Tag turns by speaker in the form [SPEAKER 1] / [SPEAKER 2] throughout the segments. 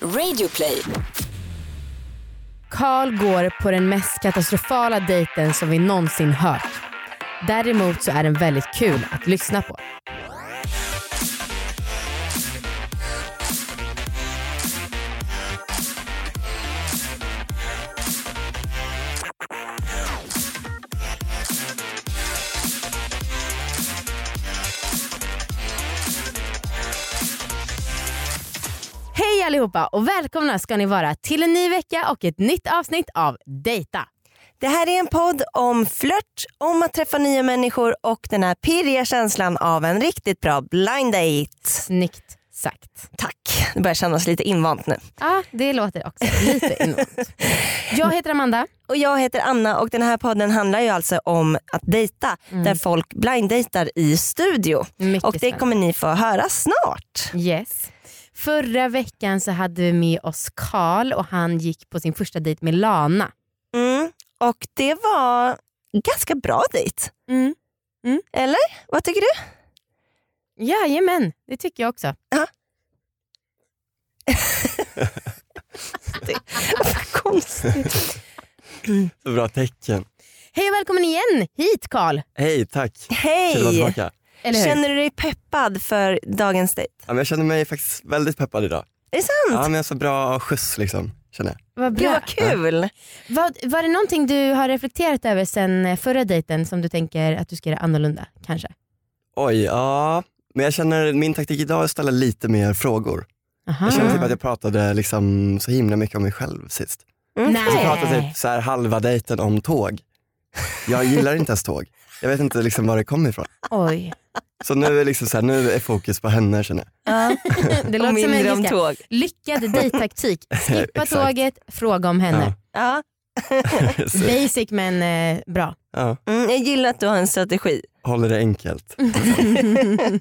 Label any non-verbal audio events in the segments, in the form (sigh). [SPEAKER 1] Radioplay.
[SPEAKER 2] Carl går på den mest katastrofala dejten som vi någonsin hört. Däremot så är den väldigt kul att lyssna på. Hej allihopa och välkomna ska ni vara till en ny vecka och ett nytt avsnitt av Dejta.
[SPEAKER 3] Det här är en podd om flört, om att träffa nya människor och den här pirriga känslan av en riktigt bra blind date.
[SPEAKER 2] Snyggt sagt.
[SPEAKER 3] Tack, det börjar kännas lite invant nu.
[SPEAKER 2] Ja, det låter (laughs) också lite invant. Jag heter Amanda.
[SPEAKER 3] Och jag heter Anna och den här podden handlar ju alltså om att dejta där folk blind dejtar i studio.
[SPEAKER 2] Mycket
[SPEAKER 3] och det
[SPEAKER 2] spännande.
[SPEAKER 3] kommer ni få höra snart.
[SPEAKER 2] Yes. Förra veckan så hade vi med oss Carl och han gick på sin första dejt med Lana.
[SPEAKER 3] Mm. Och det var en ganska bra dejt,
[SPEAKER 2] Mm.
[SPEAKER 3] eller? Vad tycker du?
[SPEAKER 2] Jajamän, det tycker jag också.
[SPEAKER 3] Vad konstigt.
[SPEAKER 4] Så bra tecken.
[SPEAKER 2] Hej och välkommen igen hit Carl!
[SPEAKER 4] Hej, tack. Kul att vara
[SPEAKER 3] Hej!
[SPEAKER 4] tillbaka.
[SPEAKER 2] Eller hur?
[SPEAKER 3] Känner du dig peppad för dagens dejt?
[SPEAKER 4] Ja, men jag känner mig faktiskt väldigt peppad idag.
[SPEAKER 3] Är det sant?
[SPEAKER 4] Ja, men jag har så bra skjuts liksom, känner jag.
[SPEAKER 2] Vad
[SPEAKER 3] Gud
[SPEAKER 2] bra.
[SPEAKER 3] vad kul!
[SPEAKER 2] Vad, var det någonting du har reflekterat över sen eh, förra dejten som du tänker att du ska göra annorlunda kanske?
[SPEAKER 4] Oj, ja. Men jag känner min taktik idag är att ställa lite mer frågor.
[SPEAKER 2] Aha.
[SPEAKER 4] Jag känner
[SPEAKER 3] Ah.
[SPEAKER 4] typ att jag pratade liksom så himla mycket om mig själv sist.
[SPEAKER 3] Mm.
[SPEAKER 2] Nej.
[SPEAKER 4] Jag pratade typ så här halva dejten om tåg. Jag gillar inte ens tåg. Jag vet inte liksom var det kommer ifrån.
[SPEAKER 2] Oj,
[SPEAKER 4] Så nu är, liksom så här, nu är fokus på henne känner jag.
[SPEAKER 3] Ja.
[SPEAKER 2] (laughs) det
[SPEAKER 3] Och
[SPEAKER 2] låter som en
[SPEAKER 3] mindre om
[SPEAKER 2] ganska
[SPEAKER 3] tåg.
[SPEAKER 2] lyckad dejttaktik.
[SPEAKER 4] (laughs)
[SPEAKER 2] Skippa
[SPEAKER 4] Exakt.
[SPEAKER 2] tåget, fråga om henne.
[SPEAKER 3] Ja.
[SPEAKER 4] Så,
[SPEAKER 2] Basic men eh, bra.
[SPEAKER 4] ja,
[SPEAKER 3] Mm, jag gillar att du har en strategi.
[SPEAKER 4] håller
[SPEAKER 5] (laughs)
[SPEAKER 4] det enkelt. Men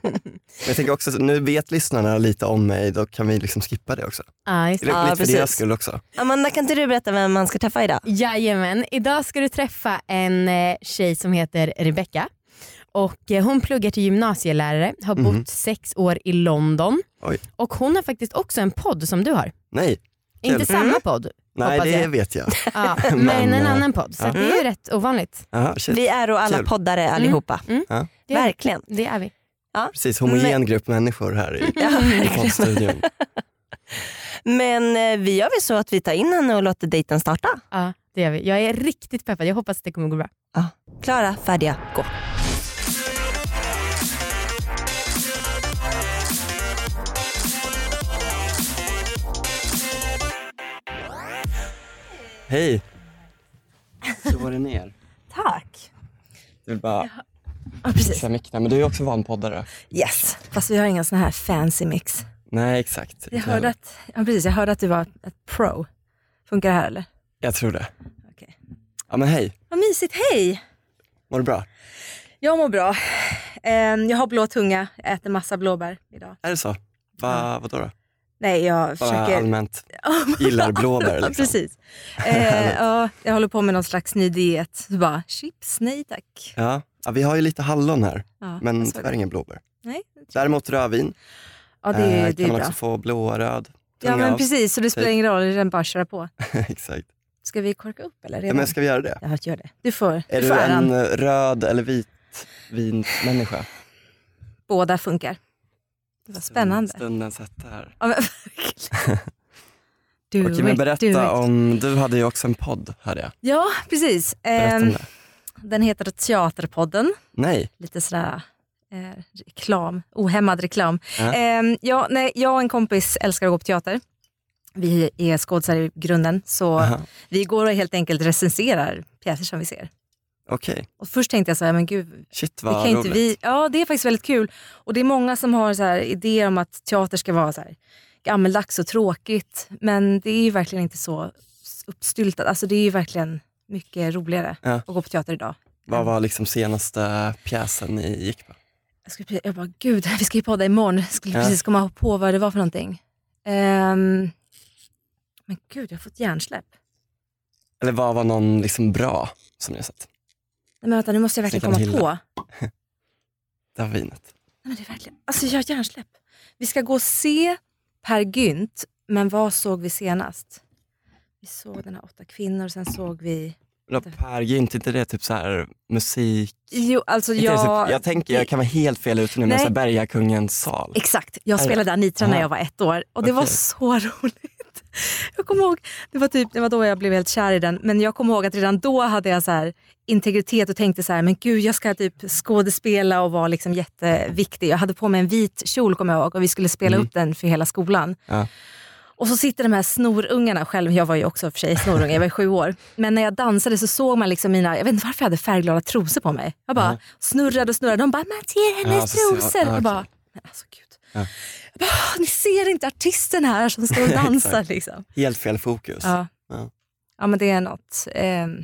[SPEAKER 4] jag tänker också, att nu vet lyssnarna lite om mig, då kan vi liksom skippa det också.
[SPEAKER 2] ja, just det.
[SPEAKER 4] Lite
[SPEAKER 3] Ja,
[SPEAKER 4] för
[SPEAKER 3] precis.
[SPEAKER 4] deras skull också.
[SPEAKER 3] Amanda kan inte du berätta vem man ska träffa idag?
[SPEAKER 2] Jajamän, idag ska du träffa en eh, tjej som heter Rebecca. Och eh, hon pluggar till gymnasielärare, har
[SPEAKER 4] Mhm.
[SPEAKER 2] bott sex år i London
[SPEAKER 4] Oj.
[SPEAKER 2] och hon har faktiskt också en podd som du har.
[SPEAKER 4] Nej, Kul.
[SPEAKER 2] Inte samma podd,
[SPEAKER 4] nej
[SPEAKER 2] Hoppas
[SPEAKER 4] det
[SPEAKER 2] jag.
[SPEAKER 4] vet jag. (laughs)
[SPEAKER 2] ja, men,
[SPEAKER 4] Men,
[SPEAKER 2] en
[SPEAKER 4] eh,
[SPEAKER 2] annan podd. Så
[SPEAKER 4] ja.
[SPEAKER 2] att det är ju rätt ovanligt.
[SPEAKER 5] (laughs)
[SPEAKER 4] Aha, shit.
[SPEAKER 3] Vi är och alla
[SPEAKER 4] Kul.
[SPEAKER 3] poddare
[SPEAKER 5] Mm.
[SPEAKER 3] allihopa.
[SPEAKER 2] Det är,
[SPEAKER 3] Verkligen.
[SPEAKER 2] det är vi.
[SPEAKER 4] Precis, homogen
[SPEAKER 3] Men-
[SPEAKER 4] grupp människor här
[SPEAKER 5] (laughs)
[SPEAKER 4] i,
[SPEAKER 3] Ja,
[SPEAKER 4] i
[SPEAKER 3] verkligen.
[SPEAKER 4] poddstudion.
[SPEAKER 3] Mm. Men eh, vi gör väl så att vi tar in henne och låter dejten starta.
[SPEAKER 2] Ja, det är vi. Jag är riktigt peppad, jag hoppas att det kommer gå bra.
[SPEAKER 3] Klara, färdiga, gå.
[SPEAKER 4] Hej. Slå dig ner.
[SPEAKER 5] Tack.
[SPEAKER 4] Du vill bara
[SPEAKER 5] Ja, precis.
[SPEAKER 4] fixa micken. Men du är ju också van poddare.
[SPEAKER 5] Yes, fast vi har inga såna här fancy mix.
[SPEAKER 4] Nej, exakt.
[SPEAKER 5] Jag hörde att, ja, precis, jag hörde att du var ett pro. Funkar det här eller?
[SPEAKER 4] Jag tror det.
[SPEAKER 5] Okej.
[SPEAKER 4] Ja, men hej.
[SPEAKER 5] Vad mysigt, hej!
[SPEAKER 4] Mår du bra?
[SPEAKER 5] Jag mår bra. Ehm, jag har blå tunga, jag äter massa blåbär idag.
[SPEAKER 4] Är det så? Va, Vadå då?
[SPEAKER 5] Nej, jag
[SPEAKER 4] Bara
[SPEAKER 5] försöker...
[SPEAKER 4] allmänt
[SPEAKER 5] Ja, men-
[SPEAKER 4] gillar blåbär
[SPEAKER 5] (laughs) Ja,
[SPEAKER 4] liksom. (laughs)
[SPEAKER 5] precis. Ehm, ja, jag håller på med någon slags ny diet. Så bara, chips, nej tack.
[SPEAKER 4] Ja. ja, vi har ju lite hallon här,
[SPEAKER 5] Ja, jag
[SPEAKER 4] men
[SPEAKER 5] såg
[SPEAKER 4] tyvärr
[SPEAKER 5] det.
[SPEAKER 4] inga blåbär.
[SPEAKER 5] Nej,
[SPEAKER 4] Däremot rödvin.
[SPEAKER 5] ja, det, är-
[SPEAKER 4] Eh,
[SPEAKER 5] det
[SPEAKER 4] kan
[SPEAKER 5] är
[SPEAKER 4] man
[SPEAKER 5] bra.
[SPEAKER 4] också få blåa, röd,
[SPEAKER 5] Ja,
[SPEAKER 4] tunga
[SPEAKER 5] men
[SPEAKER 4] av.
[SPEAKER 5] precis, så det spelar ingen roll, det är den bara att köra på.
[SPEAKER 4] (laughs) Exakt.
[SPEAKER 5] Ska vi korka upp eller?
[SPEAKER 4] Ja,
[SPEAKER 5] Redan?
[SPEAKER 4] men ska vi göra det?
[SPEAKER 5] Jag har gör det. Du får,
[SPEAKER 4] Är
[SPEAKER 5] du får
[SPEAKER 4] du
[SPEAKER 5] äran.
[SPEAKER 4] en eh, röd eller vit vinmänniska?
[SPEAKER 5] båda funkar. Det var spännande.
[SPEAKER 4] Stunden satt här.
[SPEAKER 5] Ja, men verkligen. Do
[SPEAKER 4] Okej, men
[SPEAKER 5] it, do it.
[SPEAKER 4] berätta om, du hade ju också en podd hörde jag.
[SPEAKER 5] Ja, precis.
[SPEAKER 4] Berätta om
[SPEAKER 5] Ehm,
[SPEAKER 4] det.
[SPEAKER 5] den heter Teaterpodden.
[SPEAKER 4] Nej,
[SPEAKER 5] Lite sådär eh, reklam, ohämmad reklam.
[SPEAKER 4] Ja.
[SPEAKER 5] Ehm, ja, nej, jag och en kompis älskar att gå på teater. Vi är skådisar i grunden, så
[SPEAKER 4] Aha.
[SPEAKER 5] vi går och helt enkelt recenserar pjäser som vi ser.
[SPEAKER 4] okej.
[SPEAKER 5] Och först tänkte jag så här, men gud,
[SPEAKER 4] Shit
[SPEAKER 5] det
[SPEAKER 4] vad
[SPEAKER 5] kan
[SPEAKER 4] roligt.
[SPEAKER 5] inte vi... Ja, det är faktiskt väldigt kul. Och det är många som har så här idéer om att teater ska vara så här gammeldags och tråkigt. Men det är ju verkligen inte så uppstyltat. Alltså det är ju verkligen mycket roligare
[SPEAKER 4] Ja.
[SPEAKER 5] att gå på teater idag.
[SPEAKER 4] Vad var liksom senaste pjäsen ni gick på?
[SPEAKER 5] Jag, skulle, precis- jag bara, gud, (laughs) vi ska ju podda imorgon. Jag skulle
[SPEAKER 4] Ja.
[SPEAKER 5] precis komma på vad det var för någonting. Ehm, men gud, jag har fått hjärnsläpp.
[SPEAKER 4] Eller vad var någon liksom bra som ni har sett?
[SPEAKER 5] Nej, men vänta, nu måste jag verkligen komma
[SPEAKER 4] Snyggt, Hilda.
[SPEAKER 5] på.
[SPEAKER 4] Det var vinet.
[SPEAKER 5] Nej, men det är verkligen, alltså jag har hjärnsläpp. Vi ska gå och se Per Gynt Men vad såg vi senast? Vi såg den här Åtta kvinnor, sen såg vi...
[SPEAKER 4] Men då, Per Gynt, inte det typ så här musik?
[SPEAKER 5] Jo, alltså
[SPEAKER 4] Inte det,
[SPEAKER 5] jag...
[SPEAKER 4] typ, jag tänker, jag kan vara helt fel ute nu, men
[SPEAKER 5] Nej.
[SPEAKER 4] så här Bergakungens sal.
[SPEAKER 5] Exakt, jag
[SPEAKER 4] Aj.
[SPEAKER 5] spelade Anitra när
[SPEAKER 4] Aha.
[SPEAKER 5] jag var ett år och det var
[SPEAKER 4] Okej.
[SPEAKER 5] så (laughs) roligt. Jag kommer ihåg, det var typ det var då jag blev helt kär i den, men jag kommer ihåg att redan då hade jag så här integritet och tänkte så här, men gud jag ska typ skådespela och vara liksom jätteviktig. Jag hade på mig en vit kjol kommer jag ihåg och vi skulle spela upp den för hela skolan.
[SPEAKER 4] Mm. Ja.
[SPEAKER 5] Och så sitter de här snorungarna själv, jag var ju också för sig snorunge, jag var ju sju år. Men när jag dansade så såg man liksom mina, jag vet inte varför jag hade färgglada trosor på mig. Jag bara
[SPEAKER 4] Ja.
[SPEAKER 5] snurrade och snurrade, de bara man ser
[SPEAKER 4] Ja,
[SPEAKER 5] hennes
[SPEAKER 4] så ser man-
[SPEAKER 5] trosor.
[SPEAKER 4] ja,
[SPEAKER 5] jag bara,
[SPEAKER 4] okej.
[SPEAKER 5] men alltså gud.
[SPEAKER 4] Ja.
[SPEAKER 5] Jag bara, "Ah, ni ser inte artisten här som
[SPEAKER 4] (laughs)
[SPEAKER 5] står och dansar.
[SPEAKER 4] Exakt.
[SPEAKER 5] liksom.
[SPEAKER 4] Helt fel fokus.
[SPEAKER 5] ja.
[SPEAKER 4] Ja.
[SPEAKER 5] Ja. men det är något. ehm,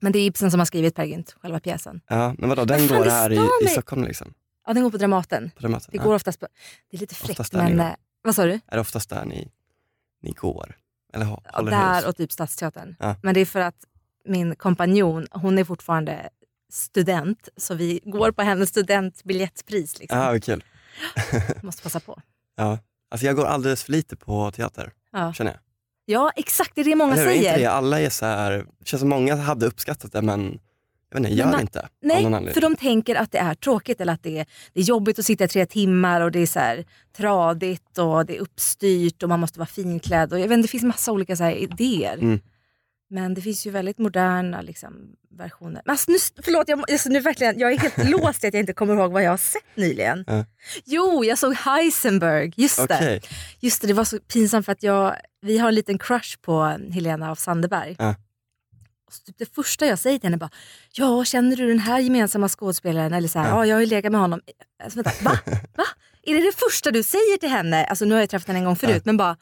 [SPEAKER 5] men det är Ibsen som har skrivit Peer Gynt, själva pjäsen.
[SPEAKER 4] Ja, men vadå, den
[SPEAKER 5] Vad fan,
[SPEAKER 4] går
[SPEAKER 5] det
[SPEAKER 4] här
[SPEAKER 5] stör
[SPEAKER 4] i, i
[SPEAKER 5] mig.
[SPEAKER 4] Stockholm liksom?
[SPEAKER 5] Ja, den går på Dramaten.
[SPEAKER 4] På Dramaten?
[SPEAKER 5] Det
[SPEAKER 4] Ja.
[SPEAKER 5] går oftast på, det är lite fräckt
[SPEAKER 4] Oftast där ni
[SPEAKER 5] men,
[SPEAKER 4] går.
[SPEAKER 5] eh, vad sa du?
[SPEAKER 4] Är det oftast där ni, ni går? Eller hå-
[SPEAKER 5] Ja,
[SPEAKER 4] håller hus?
[SPEAKER 5] där och typ Stadsteatern.
[SPEAKER 4] Ja.
[SPEAKER 5] Men det är för att min kompanjon, hon är fortfarande student så vi går på hennes studentbiljettpris. Liksom.
[SPEAKER 4] Ja, vad kul.
[SPEAKER 5] Måste passa på.
[SPEAKER 4] Ja. Alltså jag går alldeles för lite på teater,
[SPEAKER 5] Ja.
[SPEAKER 4] känner jag.
[SPEAKER 5] ja exakt, det är det många
[SPEAKER 4] Eller hur? Är
[SPEAKER 5] säger.
[SPEAKER 4] Inte det? Alla är så här, det känns som många hade uppskattat det, men jag vet inte, gör
[SPEAKER 5] man-
[SPEAKER 4] det inte. av någon
[SPEAKER 5] Nej,
[SPEAKER 4] anledning.
[SPEAKER 5] för de tänker att det är tråkigt eller att det är, det är jobbigt att sitta i tre timmar och det är så här tradigt och det är uppstyrt och man måste vara finklädd. Och jag vet inte, det finns massa olika så här idéer.
[SPEAKER 4] Mm.
[SPEAKER 5] Men det finns ju väldigt moderna liksom, versioner. Men alltså, nu, förlåt, jag, må- alltså, nu verkligen, jag är helt (laughs) låst i att jag inte kommer ihåg vad jag har sett nyligen.
[SPEAKER 4] Ja.
[SPEAKER 5] Jo, jag såg Heisenberg. Just det.
[SPEAKER 4] Okej,
[SPEAKER 5] Just det, det var så pinsamt för att jag, vi har en liten crush på Helena af Sandeberg.
[SPEAKER 4] Ja.
[SPEAKER 5] Och så typ det första jag säger till henne är bara, ja känner du den här gemensamma skådespelaren? Eller så här,
[SPEAKER 4] Ja.
[SPEAKER 5] ja, jag har ju legat med honom. Alltså, vänta, va? va? Är det det första du säger till henne? Alltså nu har jag träffat henne en gång förut, men bara,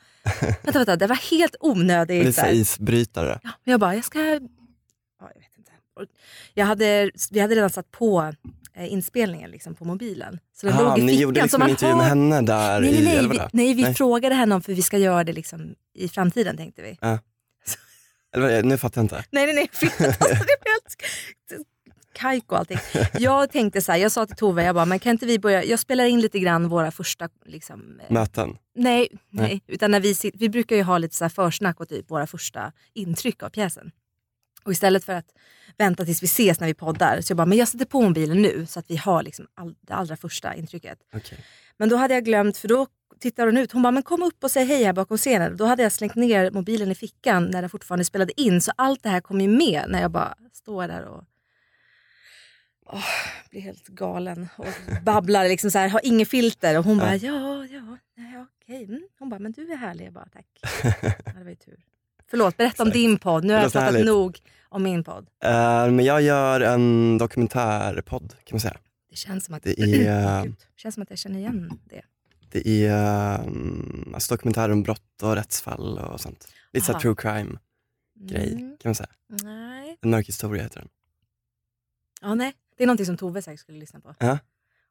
[SPEAKER 5] vänta, vänta, det var helt
[SPEAKER 4] okay.
[SPEAKER 5] onödigt. så
[SPEAKER 4] lite
[SPEAKER 5] här.
[SPEAKER 4] isbrytare.
[SPEAKER 5] Ja, men jag bara, jag ska... Ja, jag vet inte. Och Jag hade, vi hade redan satt på eh, inspelningen liksom, på mobilen. Så den
[SPEAKER 4] Ah,
[SPEAKER 5] låg i
[SPEAKER 4] ni
[SPEAKER 5] fickan.
[SPEAKER 4] gjorde
[SPEAKER 5] så
[SPEAKER 4] liksom
[SPEAKER 5] man
[SPEAKER 4] en intervju med
[SPEAKER 5] hör-
[SPEAKER 4] henne där
[SPEAKER 5] Nej,
[SPEAKER 4] i,
[SPEAKER 5] nej, nej,
[SPEAKER 4] eller
[SPEAKER 5] vi,
[SPEAKER 4] vadå?
[SPEAKER 5] nej, vi
[SPEAKER 4] Nej.
[SPEAKER 5] frågade henne om för vi ska göra det liksom i framtiden tänkte vi.
[SPEAKER 4] Eller vad- nu fattar jag inte.
[SPEAKER 5] Nej, (laughs) nej, nej, förlåt. Alltså, det blev helt kajko och allting. Jag tänkte så här, jag sa till Tove, jag bara, men kan inte vi börja, jag spelar in lite grann våra första, liksom, eh,
[SPEAKER 4] Möten.
[SPEAKER 5] nej, nej, utan när vi, sit- vi brukar ju ha lite så här försnack och typ våra första intryck av pjäsen. Och istället för att vänta tills vi ses när vi poddar, så jag bara, men jag sätter på mobilen nu så att vi har liksom all, det allra första intrycket.
[SPEAKER 4] Okej.
[SPEAKER 5] Men då hade jag glömt, för då tittade hon ut. Hon bara, men kom upp och säg hej här bakom scenen. Då hade jag slängt ner mobilen i fickan när den fortfarande spelade in. Så allt det här kom ju med när jag bara står där och åh, blir helt galen och
[SPEAKER 4] (laughs)
[SPEAKER 5] babblar. Liksom så här, har ingen filter. Och hon bara, ja, ja, nej, okej. Mm. Hon bara, men du är härlig. Jag bara,
[SPEAKER 4] (laughs)
[SPEAKER 5] tack. Ja, det var ju tur. Förlåt, berätta om
[SPEAKER 4] Exakt.
[SPEAKER 5] din podd. Nu har
[SPEAKER 4] Det
[SPEAKER 5] jag
[SPEAKER 4] låter
[SPEAKER 5] pratat
[SPEAKER 4] härligt.
[SPEAKER 5] nog om min podd.
[SPEAKER 4] Eh, men jag gör en dokumentärpodd kan man säga.
[SPEAKER 5] Det känns som att,
[SPEAKER 4] Det
[SPEAKER 5] (clears throat)
[SPEAKER 4] är, mm,
[SPEAKER 5] Gud, det känns som att jag känner igen det.
[SPEAKER 4] det är um, alltså dokumentärer om brott och rättsfall och sånt. Lite såhär
[SPEAKER 5] Aha.
[SPEAKER 4] true crime-grej
[SPEAKER 5] Mm,
[SPEAKER 4] kan man säga.
[SPEAKER 5] nej.
[SPEAKER 4] En mörk historia heter den.
[SPEAKER 5] Ja, nej. Det är någonting som Tove säkert skulle lyssna på.
[SPEAKER 4] Ja.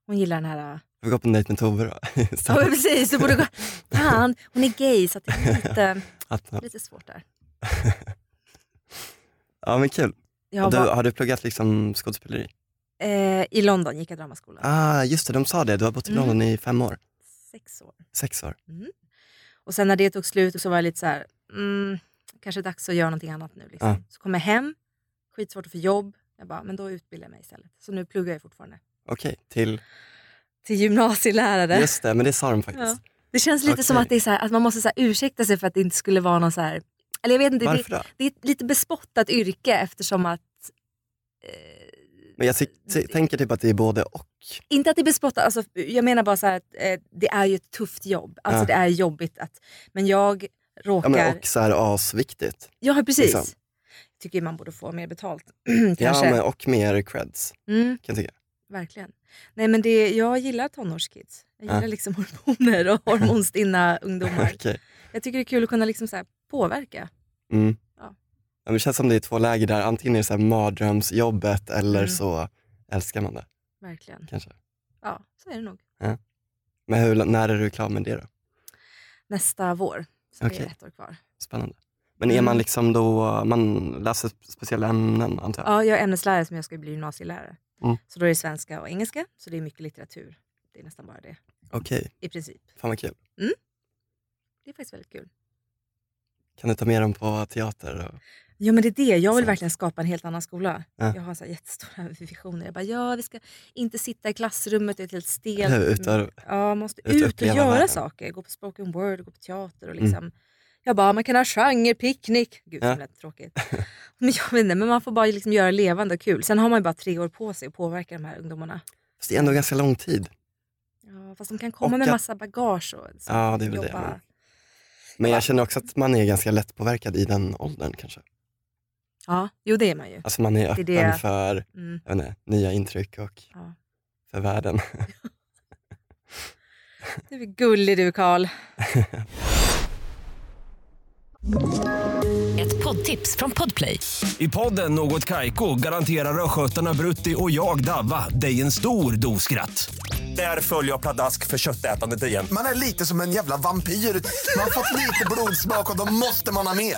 [SPEAKER 5] Hon gillar den här... äh,
[SPEAKER 4] Jag får gå på en dejt med Tove då. (laughs)
[SPEAKER 5] Ja, men
[SPEAKER 4] Så-
[SPEAKER 5] precis. Du borde gå... Fan, hon är gay så att det
[SPEAKER 4] (laughs)
[SPEAKER 5] är lite,
[SPEAKER 4] att- eh,
[SPEAKER 5] lite svårt där.
[SPEAKER 4] ja men kul.
[SPEAKER 5] Jag
[SPEAKER 4] Och du,
[SPEAKER 5] var,
[SPEAKER 4] har du pluggat liksom skådespeleri?
[SPEAKER 5] eh, I London gick jag dramaskolan.
[SPEAKER 4] Ah, just det, de sa det. Du har bott i
[SPEAKER 5] Mm.
[SPEAKER 4] London i fem år.
[SPEAKER 5] Sex år.
[SPEAKER 4] Sex år.
[SPEAKER 5] Och sen när det tog slut så var jag lite så här... Mm, kanske är dags att göra någonting annat nu. Liksom.
[SPEAKER 4] Ja.
[SPEAKER 5] Så kom jag hem, skitsvårt att få jobb. Jag bara, men då utbildar jag mig istället. Så nu pluggar jag fortfarande.
[SPEAKER 4] Okej,
[SPEAKER 5] (laughs)
[SPEAKER 4] till...
[SPEAKER 5] Till gymnasielärare.
[SPEAKER 4] Just det, men det sa de faktiskt.
[SPEAKER 5] Det känns lite som
[SPEAKER 4] Okej.
[SPEAKER 5] att, det är så här, att man måste så här, ursäkta sig för att det inte skulle vara någon så här... Eller jag vet inte, det,
[SPEAKER 4] Varför då?
[SPEAKER 5] det är ett lite bespottat yrke eftersom att... Eh,
[SPEAKER 4] Men jag ty- ty- tänker typ att det är både och.
[SPEAKER 5] inte att det är bespottat, alltså, jag menar bara så här att eh, det är ju ett tufft jobb. Alltså
[SPEAKER 4] Ja.
[SPEAKER 5] det är jobbigt att... Men jag
[SPEAKER 4] Ja,
[SPEAKER 5] råkar...
[SPEAKER 4] men och så här asviktigt.
[SPEAKER 5] Ja, precis.
[SPEAKER 4] liksom.
[SPEAKER 5] Jag tycker man borde få mer betalt. (clears throat)
[SPEAKER 4] Ja,
[SPEAKER 5] kanske.
[SPEAKER 4] men och mer creds
[SPEAKER 5] Mm,
[SPEAKER 4] kan jag tycka.
[SPEAKER 5] verkligen. Nej men det, jag gillar tonårskids. Jag
[SPEAKER 4] Ja.
[SPEAKER 5] gillar liksom hormoner
[SPEAKER 4] (laughs)
[SPEAKER 5] och hormonstinna ungdomar.
[SPEAKER 4] Okej.
[SPEAKER 5] Jag tycker det är kul att kunna liksom så här påverka.
[SPEAKER 4] Mm.
[SPEAKER 5] Ja.
[SPEAKER 4] Ja. men det känns som det är två läger där. Antingen är det så här mardrömsjobbet eller
[SPEAKER 5] Mm.
[SPEAKER 4] så älskar man det
[SPEAKER 5] Verkligen.
[SPEAKER 4] kanske.
[SPEAKER 5] Ja, så är det nog.
[SPEAKER 4] Men hur, när är du klar med det då?
[SPEAKER 5] Nästa vår. Så det
[SPEAKER 4] Okej.
[SPEAKER 5] är ett år kvar.
[SPEAKER 4] Spännande. Men är
[SPEAKER 5] Mm.
[SPEAKER 4] man liksom då, man läser speciella ämnen antar jag?
[SPEAKER 5] Ja, jag är ämneslärare som jag ska bli gymnasielärare.
[SPEAKER 4] Mm.
[SPEAKER 5] Så då är det svenska och engelska, så det är mycket litteratur. Det är nästan bara det,
[SPEAKER 4] Okej,
[SPEAKER 5] i princip.
[SPEAKER 4] fan vad kul.
[SPEAKER 5] Mm. Det är faktiskt väldigt kul.
[SPEAKER 4] Kan du ta med dem på teater? Och...
[SPEAKER 5] Ja, men det är det. Jag vill
[SPEAKER 4] Sant.
[SPEAKER 5] verkligen skapa en helt annan skola.
[SPEAKER 4] Ja.
[SPEAKER 5] Jag har så här jättestora (laughs) visioner. Jag bara, ja, vi ska inte sitta i klassrummet och ett helt mm.
[SPEAKER 4] Eller hur?
[SPEAKER 5] stelt...
[SPEAKER 4] Utöver-
[SPEAKER 5] Ja, man måste
[SPEAKER 4] Ut och
[SPEAKER 5] ut och
[SPEAKER 4] uppleva
[SPEAKER 5] göra
[SPEAKER 4] världen. Mm.
[SPEAKER 5] saker. Gå på spoken word, gå på teater och liksom... Jag bara, man kan ha genre, picknick. Gud,
[SPEAKER 4] Ja.
[SPEAKER 5] så lät tråkigt. (laughs) Men jag vet inte, men man får bara liksom göra det levande och kul. Sen har man ju bara tre år på sig att påverka de här ungdomarna.
[SPEAKER 4] Fast det är ändå ganska lång tid.
[SPEAKER 5] Ja, fast de kan komma
[SPEAKER 4] Och
[SPEAKER 5] med
[SPEAKER 4] att-
[SPEAKER 5] massa bagage och så,
[SPEAKER 4] Ja, det är väl det,
[SPEAKER 5] jobba.
[SPEAKER 4] men- Men jag känner också att man är ganska lättpåverkad i den åldern kanske.
[SPEAKER 5] Ja, jo det är man ju.
[SPEAKER 4] Alltså man är
[SPEAKER 5] Det är
[SPEAKER 4] öppen
[SPEAKER 5] det.
[SPEAKER 4] för
[SPEAKER 5] Mm.
[SPEAKER 4] jag vet inte, nya intryck och
[SPEAKER 5] Ja.
[SPEAKER 4] för världen. (laughs)
[SPEAKER 5] Du är gullig du Karl.
[SPEAKER 1] Ett poddtips från Podplay.
[SPEAKER 6] I podden Något Kaiko garanterar östgötarna Brutti och jag, Davva, dig en stor dos skratt. Där följer jag pladask för köttätandet igen.
[SPEAKER 7] Man är lite som en jävla vampyr. Man har fått lite blodsmak och då måste man ha mer.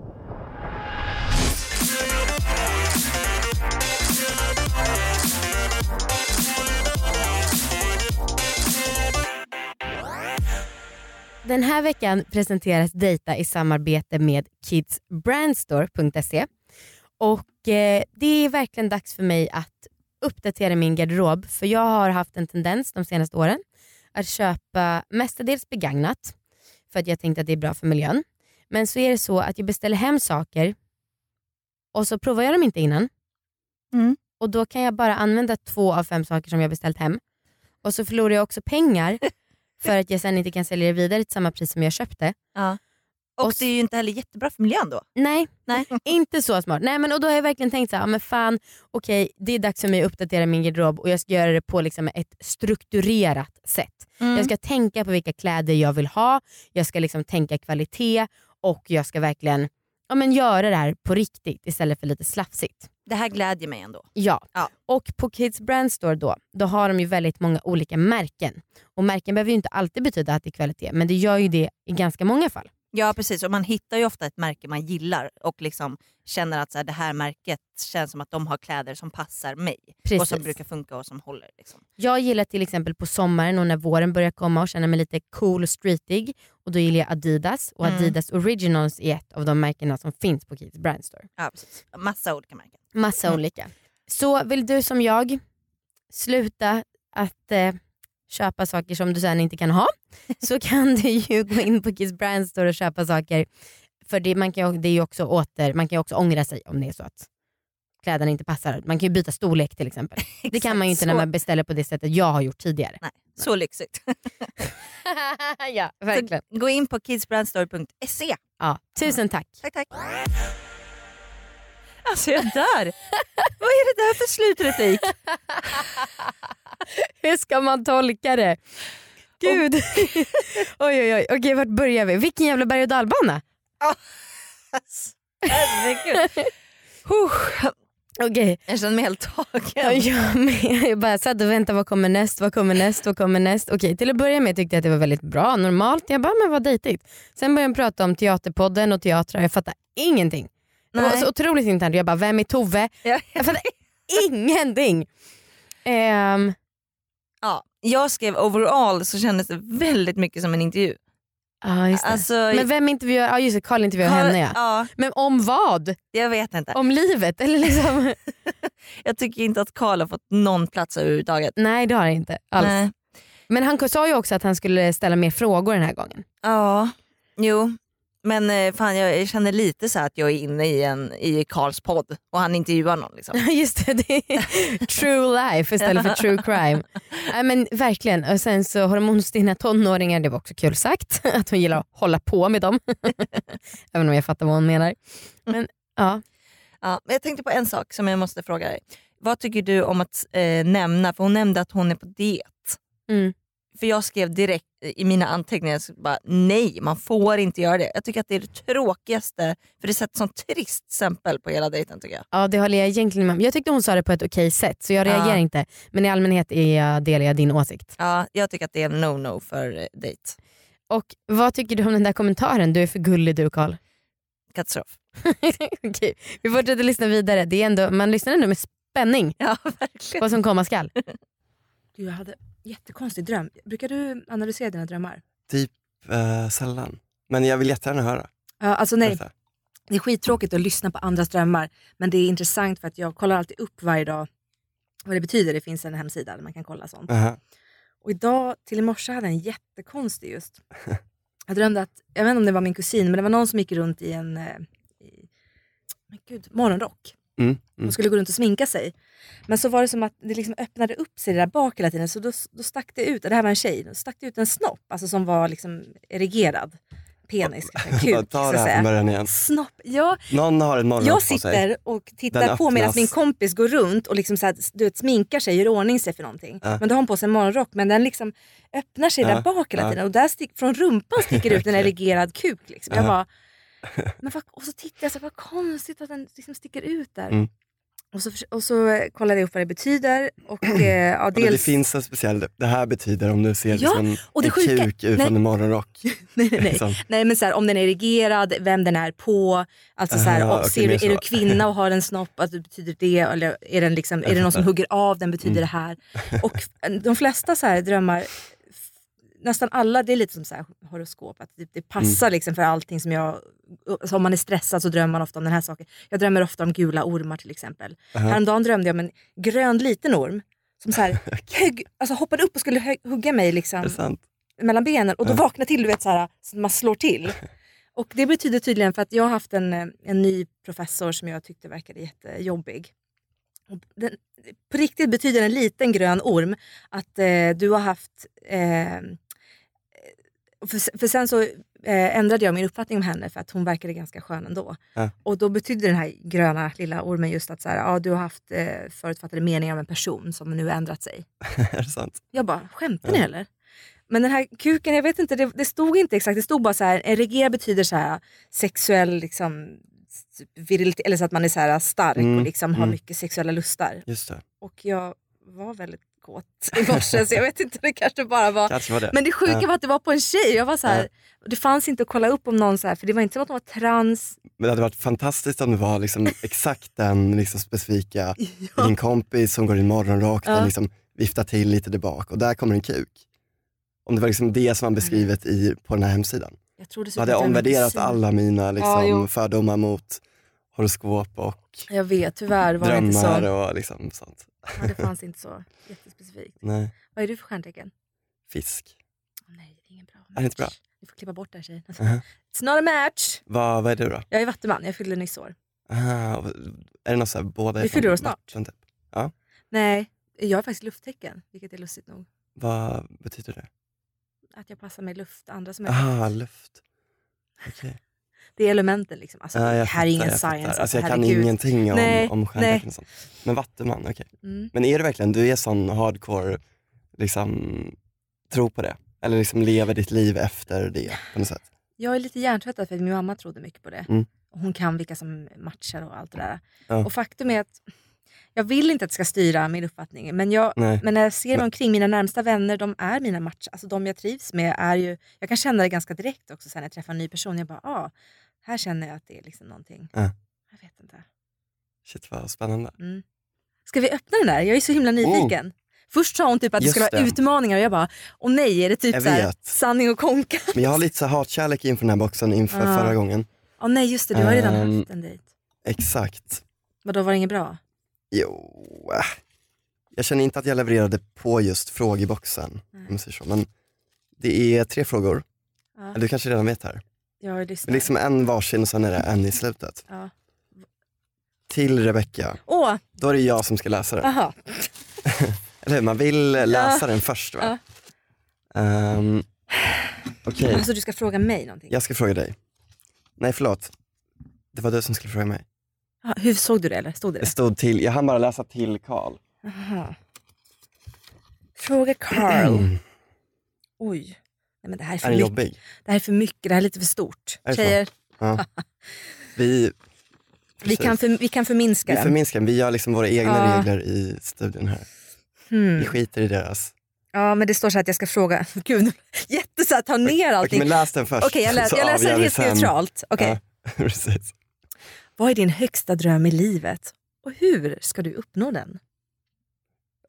[SPEAKER 2] Den här veckan presenteras Dejta i samarbete med kidsbrandstore.se. Och eh, det är verkligen dags för mig att uppdatera min garderob för jag har haft en tendens de senaste åren att köpa mestadels begagnat för att jag tänkte att det är bra för miljön. Men så är det så att jag beställer hem saker och så provar jag dem inte innan.
[SPEAKER 3] Mm.
[SPEAKER 2] Och då kan jag bara använda två av fem saker som jag beställt hem. Och så förlorar jag också
[SPEAKER 8] (laughs)
[SPEAKER 2] pengar för att jag sen inte kan sälja det vidare till samma pris som jag köpte.
[SPEAKER 8] Och,
[SPEAKER 2] Och
[SPEAKER 8] det är ju inte heller jättebra för miljön då.
[SPEAKER 2] Nej, (laughs)
[SPEAKER 8] Nej.
[SPEAKER 2] inte så smart. Nej, men, och då har jag verkligen tänkt så här, ja, men fan, okej det är dags för mig att uppdatera min garderob och jag ska göra det på liksom ett strukturerat sätt.
[SPEAKER 8] Mm.
[SPEAKER 2] Jag ska tänka på vilka kläder jag vill ha, jag ska liksom tänka kvalitet och jag ska verkligen ja, men, göra det här på riktigt istället för lite slafsigt.
[SPEAKER 8] Det här glädjer mig ändå.
[SPEAKER 2] Ja.
[SPEAKER 8] Ja.
[SPEAKER 2] och på Kids Brand Store då, då har de ju väldigt många olika märken. Och märken behöver ju inte alltid betyda att det är kvalitet men det gör ju det i ganska många fall.
[SPEAKER 8] Ja precis, och man hittar ju ofta ett märke man gillar och liksom känner att så här, det här märket känns som att de har kläder som passar mig. Och som
[SPEAKER 2] Precis.
[SPEAKER 8] brukar funka och som håller. Liksom.
[SPEAKER 2] Jag gillar till exempel på sommaren och när våren börjar komma och känner mig lite cool och streetig. Och då gillar jag Adidas och
[SPEAKER 8] Mm.
[SPEAKER 2] Adidas Originals är ett av de märkena som finns på Kids Brand Store.
[SPEAKER 8] Ja, precis. Massa olika märken.
[SPEAKER 2] Massa
[SPEAKER 8] Mm.
[SPEAKER 2] olika. Så vill du som jag sluta att eh, köpa saker som du sen inte kan
[SPEAKER 8] (laughs)
[SPEAKER 2] ha så kan du ju gå in på Kids Brand Store och köpa saker. För det, man, kan, ju- det är ju också åter, man kan ju också ångra sig om det är så att kläderna inte passar. Man kan ju byta storlek till exempel. Det kan man ju inte
[SPEAKER 8] Exakt,
[SPEAKER 2] när
[SPEAKER 8] så,
[SPEAKER 2] man beställer på det sättet jag har gjort tidigare.
[SPEAKER 8] Så lyxigt. (laughs)
[SPEAKER 2] (laughs) ja, verkligen.
[SPEAKER 8] Så gå in på kidsbrandstore.se.
[SPEAKER 2] Ja, tusen tack.
[SPEAKER 8] Tack, tack. Alltså jag
[SPEAKER 2] (laughs)
[SPEAKER 8] dör. Vad är det där för slutreplik?
[SPEAKER 2] Hur ska man tolka det? Gud. (laughs) oj, oj, oj. Okej, vart börjar vi? Vilken jävla berg och dalbana.
[SPEAKER 8] Herregud. Huh,
[SPEAKER 2] Okej,
[SPEAKER 8] Jag känner mig helt
[SPEAKER 2] jag, (laughs)
[SPEAKER 8] tagen.
[SPEAKER 2] jag, med. jag bara satt och väntade. Vad kommer näst? Vad kommer näst? Vad kommer näst? Okej, till att börja med tyckte jag att det var väldigt bra. Normalt. Jag bara, men vad dejtigt. Sen började de prata om teaterpodden och teatrar. Jag fattar ingenting. Det var
[SPEAKER 8] Nej.
[SPEAKER 2] så otroligt internt. Jag bara, vem är Tove?
[SPEAKER 8] Ja.
[SPEAKER 2] Jag (laughs) fattar ingenting. Ehm,
[SPEAKER 8] Ja, jag skrev overall så kändes det väldigt mycket som en intervju.
[SPEAKER 2] ja, just det.
[SPEAKER 8] Alltså,
[SPEAKER 2] Men vem intervjuar, ja just det, Karl intervjuar henne ja.
[SPEAKER 8] ja.
[SPEAKER 2] Men om vad?
[SPEAKER 8] Jag vet inte.
[SPEAKER 2] Om livet? Eller liksom?
[SPEAKER 8] Jag tycker inte att Karl har fått någon plats överhuvudtaget.
[SPEAKER 2] (laughs) Nej det har jag inte alls.
[SPEAKER 8] Nej.
[SPEAKER 2] Men han sa ju också att han skulle ställa mer frågor den här (laughs) gången.
[SPEAKER 8] Ja, jo. Men eh, fan jag känner lite så här att jag är inne i, en, i Karls podd och han intervjuar någon. Liksom.
[SPEAKER 2] Just det, det är true life istället för true crime. Nej men verkligen. Och sen så hormonstinna tonåringar, det var också kul sagt. (laughs) Att hon gillar att hålla på med dem. (laughs) Även om jag fattar vad hon menar. Men ja,
[SPEAKER 8] Ja, men jag tänkte på en sak som jag måste fråga dig. Vad tycker du om att eh, nämna, för hon nämnde att hon är på diet.
[SPEAKER 2] mm.
[SPEAKER 8] För jag skrev direkt i mina anteckningar, så bara, nej man får inte göra det. Jag tycker att det är det tråkigaste, för det sätter sånt trist stämpel på hela dejten tycker jag.
[SPEAKER 2] ja det håller jag egentligen med om. Jag tyckte hon sa det på ett okej sätt så jag
[SPEAKER 8] Ja.
[SPEAKER 2] reagerar inte. Men i allmänhet är jag, delar jag din åsikt.
[SPEAKER 8] Ja, jag tycker att det är en no-no för eh, dejt.
[SPEAKER 2] Och vad tycker du om den där kommentaren? Du är för gullig du Karl.
[SPEAKER 8] Katastrof.
[SPEAKER 2] Okej, Vi fortsätter lyssna vidare. Det är ändå, man lyssnar ändå med spänning
[SPEAKER 8] Ja, verkligen.
[SPEAKER 2] vad som komma skall.
[SPEAKER 5] Gud, jag hade jättekonstig dröm. Brukar du analysera dina drömmar?
[SPEAKER 4] Eh, sällan. Men jag vill jättegärna höra.
[SPEAKER 5] Ja, alltså nej,
[SPEAKER 4] Berätta.
[SPEAKER 5] det är skittråkigt att lyssna på andras drömmar men det är intressant för att jag kollar alltid upp varje dag vad det betyder. Det finns en hemsida där man kan kolla sånt.
[SPEAKER 4] Aha.
[SPEAKER 5] Och idag till i morse hade jag en jättekonstig (laughs) just. Jag drömde att, jag vet inte om det var min kusin, men det var någon som gick runt i en eh, i, men gud, morgonrock.
[SPEAKER 4] Mm, mm.
[SPEAKER 5] Hon skulle gå runt och sminka sig. Men så var det som att det liksom öppnade upp sig det där bak hela tiden. Så då, då stack det ut, det här var en tjej, då stack det ut en snopp alltså som var liksom erigerad. Penis, kanske, en
[SPEAKER 4] (laughs) Ta,
[SPEAKER 5] kuk så
[SPEAKER 4] ta
[SPEAKER 5] att
[SPEAKER 4] det här från
[SPEAKER 5] säga.
[SPEAKER 4] början igen.
[SPEAKER 5] Snopp, ja.
[SPEAKER 4] Någon har en
[SPEAKER 5] Jag
[SPEAKER 4] morgonrock på sig.
[SPEAKER 5] sitter och
[SPEAKER 4] Den
[SPEAKER 5] tittar på medan
[SPEAKER 4] öppnas.
[SPEAKER 5] min kompis går runt och liksom så här, du vet, sminkar sig, gör i ordning sig för någonting.
[SPEAKER 4] Ja.
[SPEAKER 5] Men då har hon på sig en morgonrock men den liksom öppnar sig
[SPEAKER 4] Ja,
[SPEAKER 5] där bak hela
[SPEAKER 4] ja.
[SPEAKER 5] tiden och där stick, från rumpan sticker
[SPEAKER 4] (laughs)
[SPEAKER 5] ut en erigerad kuk. Liksom. Jag
[SPEAKER 4] Ja. (laughs)
[SPEAKER 5] bara, men vad, och så tittar jag så här, vad konstigt att den liksom sticker ut där.
[SPEAKER 4] Mm.
[SPEAKER 5] Och, så, förs- och så eh, kollade jag upp vad det betyder.
[SPEAKER 4] (clears throat)
[SPEAKER 5] Och, eh, ja,
[SPEAKER 4] Och Det
[SPEAKER 5] dels,
[SPEAKER 4] finns en speciell, det här betyder om du ser liksom
[SPEAKER 5] och det
[SPEAKER 4] en
[SPEAKER 5] sjuka-
[SPEAKER 4] kuk utan
[SPEAKER 5] nej.
[SPEAKER 4] en morgonrock.
[SPEAKER 5] (laughs) (laughs) nej, nej, nej.
[SPEAKER 4] Liksom.
[SPEAKER 5] Nej men så här, om den är erigerad, vem den är på. Alltså så här,
[SPEAKER 4] Ah,
[SPEAKER 5] och
[SPEAKER 4] okej,
[SPEAKER 5] ser du,
[SPEAKER 4] mer
[SPEAKER 5] är du
[SPEAKER 4] så.
[SPEAKER 5] kvinna och har en snopp, alltså, betyder det, eller är, den liksom, är det någon som hugger av den, betyder
[SPEAKER 4] Mm.
[SPEAKER 5] det här. Och de flesta så här drömmar, f- nästan alla, det är lite som så här horoskop, att det, det
[SPEAKER 4] Mm.
[SPEAKER 5] passar liksom för allting som jag, alltså, om man är stressad så drömmer man ofta om den här saken. Jag drömmer ofta om gula ormar till exempel. Häromdagen drömde jag om en grön liten orm som
[SPEAKER 4] (laughs)
[SPEAKER 5] så här, högg, alltså hoppade upp och skulle hö- hugga mig
[SPEAKER 4] Är
[SPEAKER 5] liksom,
[SPEAKER 4] det sant? (laughs)
[SPEAKER 5] mellan benen och då vaknar till du vet så här så att man slår till. Och det betyder tydligen för att jag har haft en, eh, en ny professor som jag tyckte verkade jättejobbig. Och Den, på riktigt betyder en liten grön orm att eh, du har haft... Eh, för, för sen så eh, ändrade jag min uppfattning om henne för att hon verkade ganska skön ändå.
[SPEAKER 4] Ja.
[SPEAKER 5] Och då betydde den här gröna lilla ormen just att så här, ja, du har haft eh, förutfattade meningar om en person som nu har ändrat sig.
[SPEAKER 4] är det sant?
[SPEAKER 5] Jag bara, skämtar ni eller? Men den här kuken, jag vet inte, det, det stod inte exakt. Det stod bara så här, erigera betyder så här sexuell liksom typ virilitet, eller så att man är så här stark
[SPEAKER 4] Mm,
[SPEAKER 5] och liksom har
[SPEAKER 4] mm.
[SPEAKER 5] mycket sexuella lustar.
[SPEAKER 4] Just det,
[SPEAKER 5] Och jag var väldigt kåt (laughs) i morse så jag vet inte, det kanske bara var...
[SPEAKER 4] kanske var det.
[SPEAKER 5] Men det sjuka
[SPEAKER 4] Ja.
[SPEAKER 5] var att det var på en tjej. Jag var så här, Det fanns inte att kolla upp om någon så här, för det var inte som att hon var trans.
[SPEAKER 4] Men det hade varit fantastiskt om det var liksom exakt den
[SPEAKER 5] (laughs)
[SPEAKER 4] liksom specifika, din kompis som går i morgonrock,
[SPEAKER 5] Ja.
[SPEAKER 4] den liksom viftar till lite där bak och där kommer en kuk. Om det var liksom det
[SPEAKER 5] Mm.
[SPEAKER 4] som man beskrivit i, på den här hemsidan.
[SPEAKER 5] Jag trodde
[SPEAKER 4] Då hade jag omvärderat alla mina liksom,
[SPEAKER 5] jo.
[SPEAKER 4] fördomar mot horoskop och
[SPEAKER 5] Jag vet, tyvärr var det inte så.
[SPEAKER 4] drömmar
[SPEAKER 5] Ja,
[SPEAKER 4] och liksom sånt.
[SPEAKER 5] det fanns inte så jättespecifikt.
[SPEAKER 4] Nej,
[SPEAKER 5] Vad är du för stjärntecken?
[SPEAKER 4] fisk.
[SPEAKER 5] Åh nej, det är ingen bra match.
[SPEAKER 4] det inte bra? Uh-huh.
[SPEAKER 5] Du får klippa bort det här tjejen.
[SPEAKER 4] Aha.
[SPEAKER 5] It's not a match!
[SPEAKER 4] Vad, vad är du då?
[SPEAKER 5] Jag är vattuman, jag fyller nyss år.
[SPEAKER 4] Aha, och- är det något så här, båda är
[SPEAKER 5] Vi
[SPEAKER 4] från
[SPEAKER 5] fyller år snart.
[SPEAKER 4] vatten, typ?
[SPEAKER 5] Nej, jag är faktiskt lufttecken, vilket är lustigt nog.
[SPEAKER 4] Vad betyder det?
[SPEAKER 5] Att jag passar mig luft, andra som är
[SPEAKER 4] Aha, luft. Okej.
[SPEAKER 5] Det är elementen liksom. Alltså,
[SPEAKER 4] Ja,
[SPEAKER 5] det här är
[SPEAKER 4] jag fattar,
[SPEAKER 5] ingen
[SPEAKER 4] jag fattar.
[SPEAKER 5] science.
[SPEAKER 4] Alltså, jag kan
[SPEAKER 5] herregud.
[SPEAKER 4] ingenting om,
[SPEAKER 5] Nej,
[SPEAKER 4] om stjärntecken och sånt. Men Vattuman, okej.
[SPEAKER 5] Mm.
[SPEAKER 4] Men är du verkligen, du är sån hardcore, liksom, tro på det? Eller liksom lever ditt liv efter det på något sätt?
[SPEAKER 5] Jag är lite hjärntvättad för att min mamma trodde mycket på det.
[SPEAKER 4] Mm.
[SPEAKER 5] Och Hon kan vilka som matchar och allt det där.
[SPEAKER 4] Ja.
[SPEAKER 5] Och faktum är att jag vill inte att det ska styra min uppfattning, men jag,
[SPEAKER 4] Nej.
[SPEAKER 5] Men när jag ser mig omkring, mina närmsta vänner, de är mina match, alltså de jag trivs med är ju, jag kan känna det ganska direkt också sen när jag träffar en ny person, jag bara, ah, här känner jag att det är liksom någonting.
[SPEAKER 4] Ja.
[SPEAKER 5] Jag vet inte.
[SPEAKER 4] Shit vad spännande.
[SPEAKER 5] Mm. Ska vi öppna den där? Jag är så himla nyfiken. Först sa hon typ att det
[SPEAKER 4] Oh. Just
[SPEAKER 5] skulle vara
[SPEAKER 4] det.
[SPEAKER 5] utmaningar och jag bara, åh nej, är det typ
[SPEAKER 4] Jag
[SPEAKER 5] så här,
[SPEAKER 4] vet.
[SPEAKER 5] sanning och konka? (laughs)
[SPEAKER 4] Men jag har lite så här hatkärlek inför den här boxen inför
[SPEAKER 5] Ja.
[SPEAKER 4] förra gången.
[SPEAKER 5] Åh nej, just det, du har redan
[SPEAKER 4] Ehm.
[SPEAKER 5] haft en dejt.
[SPEAKER 4] Exakt.
[SPEAKER 5] Vadå, var det inget bra?
[SPEAKER 4] Jo, äh. jag känner inte att jag levererade på just frågeboxen. Om man säger så. Men det är tre frågor.
[SPEAKER 5] Ja.
[SPEAKER 4] Eller Du kanske redan vet här.
[SPEAKER 5] Jag
[SPEAKER 4] Men
[SPEAKER 5] lyssnar.
[SPEAKER 4] liksom en varsin och sen är det en i slutet.
[SPEAKER 5] Ja.
[SPEAKER 4] Till Rebecca.
[SPEAKER 5] Åh,
[SPEAKER 4] Då är det jag som ska läsa den.
[SPEAKER 5] aha.
[SPEAKER 4] Eller hur? Man vill läsa den först va? Ehm, Okej,
[SPEAKER 5] Alltså du ska fråga mig någonting.
[SPEAKER 4] jag ska fråga dig. Nej förlåt. Det var du som skulle fråga mig.
[SPEAKER 5] Ja, hur såg du det eller? Stod det
[SPEAKER 4] Det
[SPEAKER 5] det?
[SPEAKER 4] stod till, jag hann bara läsa till Karl.
[SPEAKER 5] Aha. Fråga Carl.
[SPEAKER 4] (clears throat)
[SPEAKER 5] Oj. Nej, men det, här är för
[SPEAKER 4] Är den
[SPEAKER 5] mycket,
[SPEAKER 4] jobbig?
[SPEAKER 5] det här är för mycket, det här är lite för stort.
[SPEAKER 4] Är det så?
[SPEAKER 5] Tjejer,
[SPEAKER 4] Ja. Vi,
[SPEAKER 5] vi kan, för, vi kan förminska
[SPEAKER 4] vi
[SPEAKER 5] den.
[SPEAKER 4] förminskar den, vi gör liksom våra egna
[SPEAKER 5] Ja.
[SPEAKER 4] regler i studion här. Vi
[SPEAKER 5] Hmm.
[SPEAKER 4] skiter i deras.
[SPEAKER 5] Ja, men det står så här att jag ska fråga. (laughs) Gud, nu- jätte så här, ta ner
[SPEAKER 4] Okej,
[SPEAKER 5] allting.
[SPEAKER 4] men läs den först.
[SPEAKER 5] Okej, jag, lä-
[SPEAKER 4] så
[SPEAKER 5] jag läser
[SPEAKER 4] avgör vi
[SPEAKER 5] helt
[SPEAKER 4] sen.
[SPEAKER 5] neutralt. Okej.
[SPEAKER 4] Ja, (laughs) precis.
[SPEAKER 5] Vad är din högsta dröm i livet? Och hur ska du uppnå den?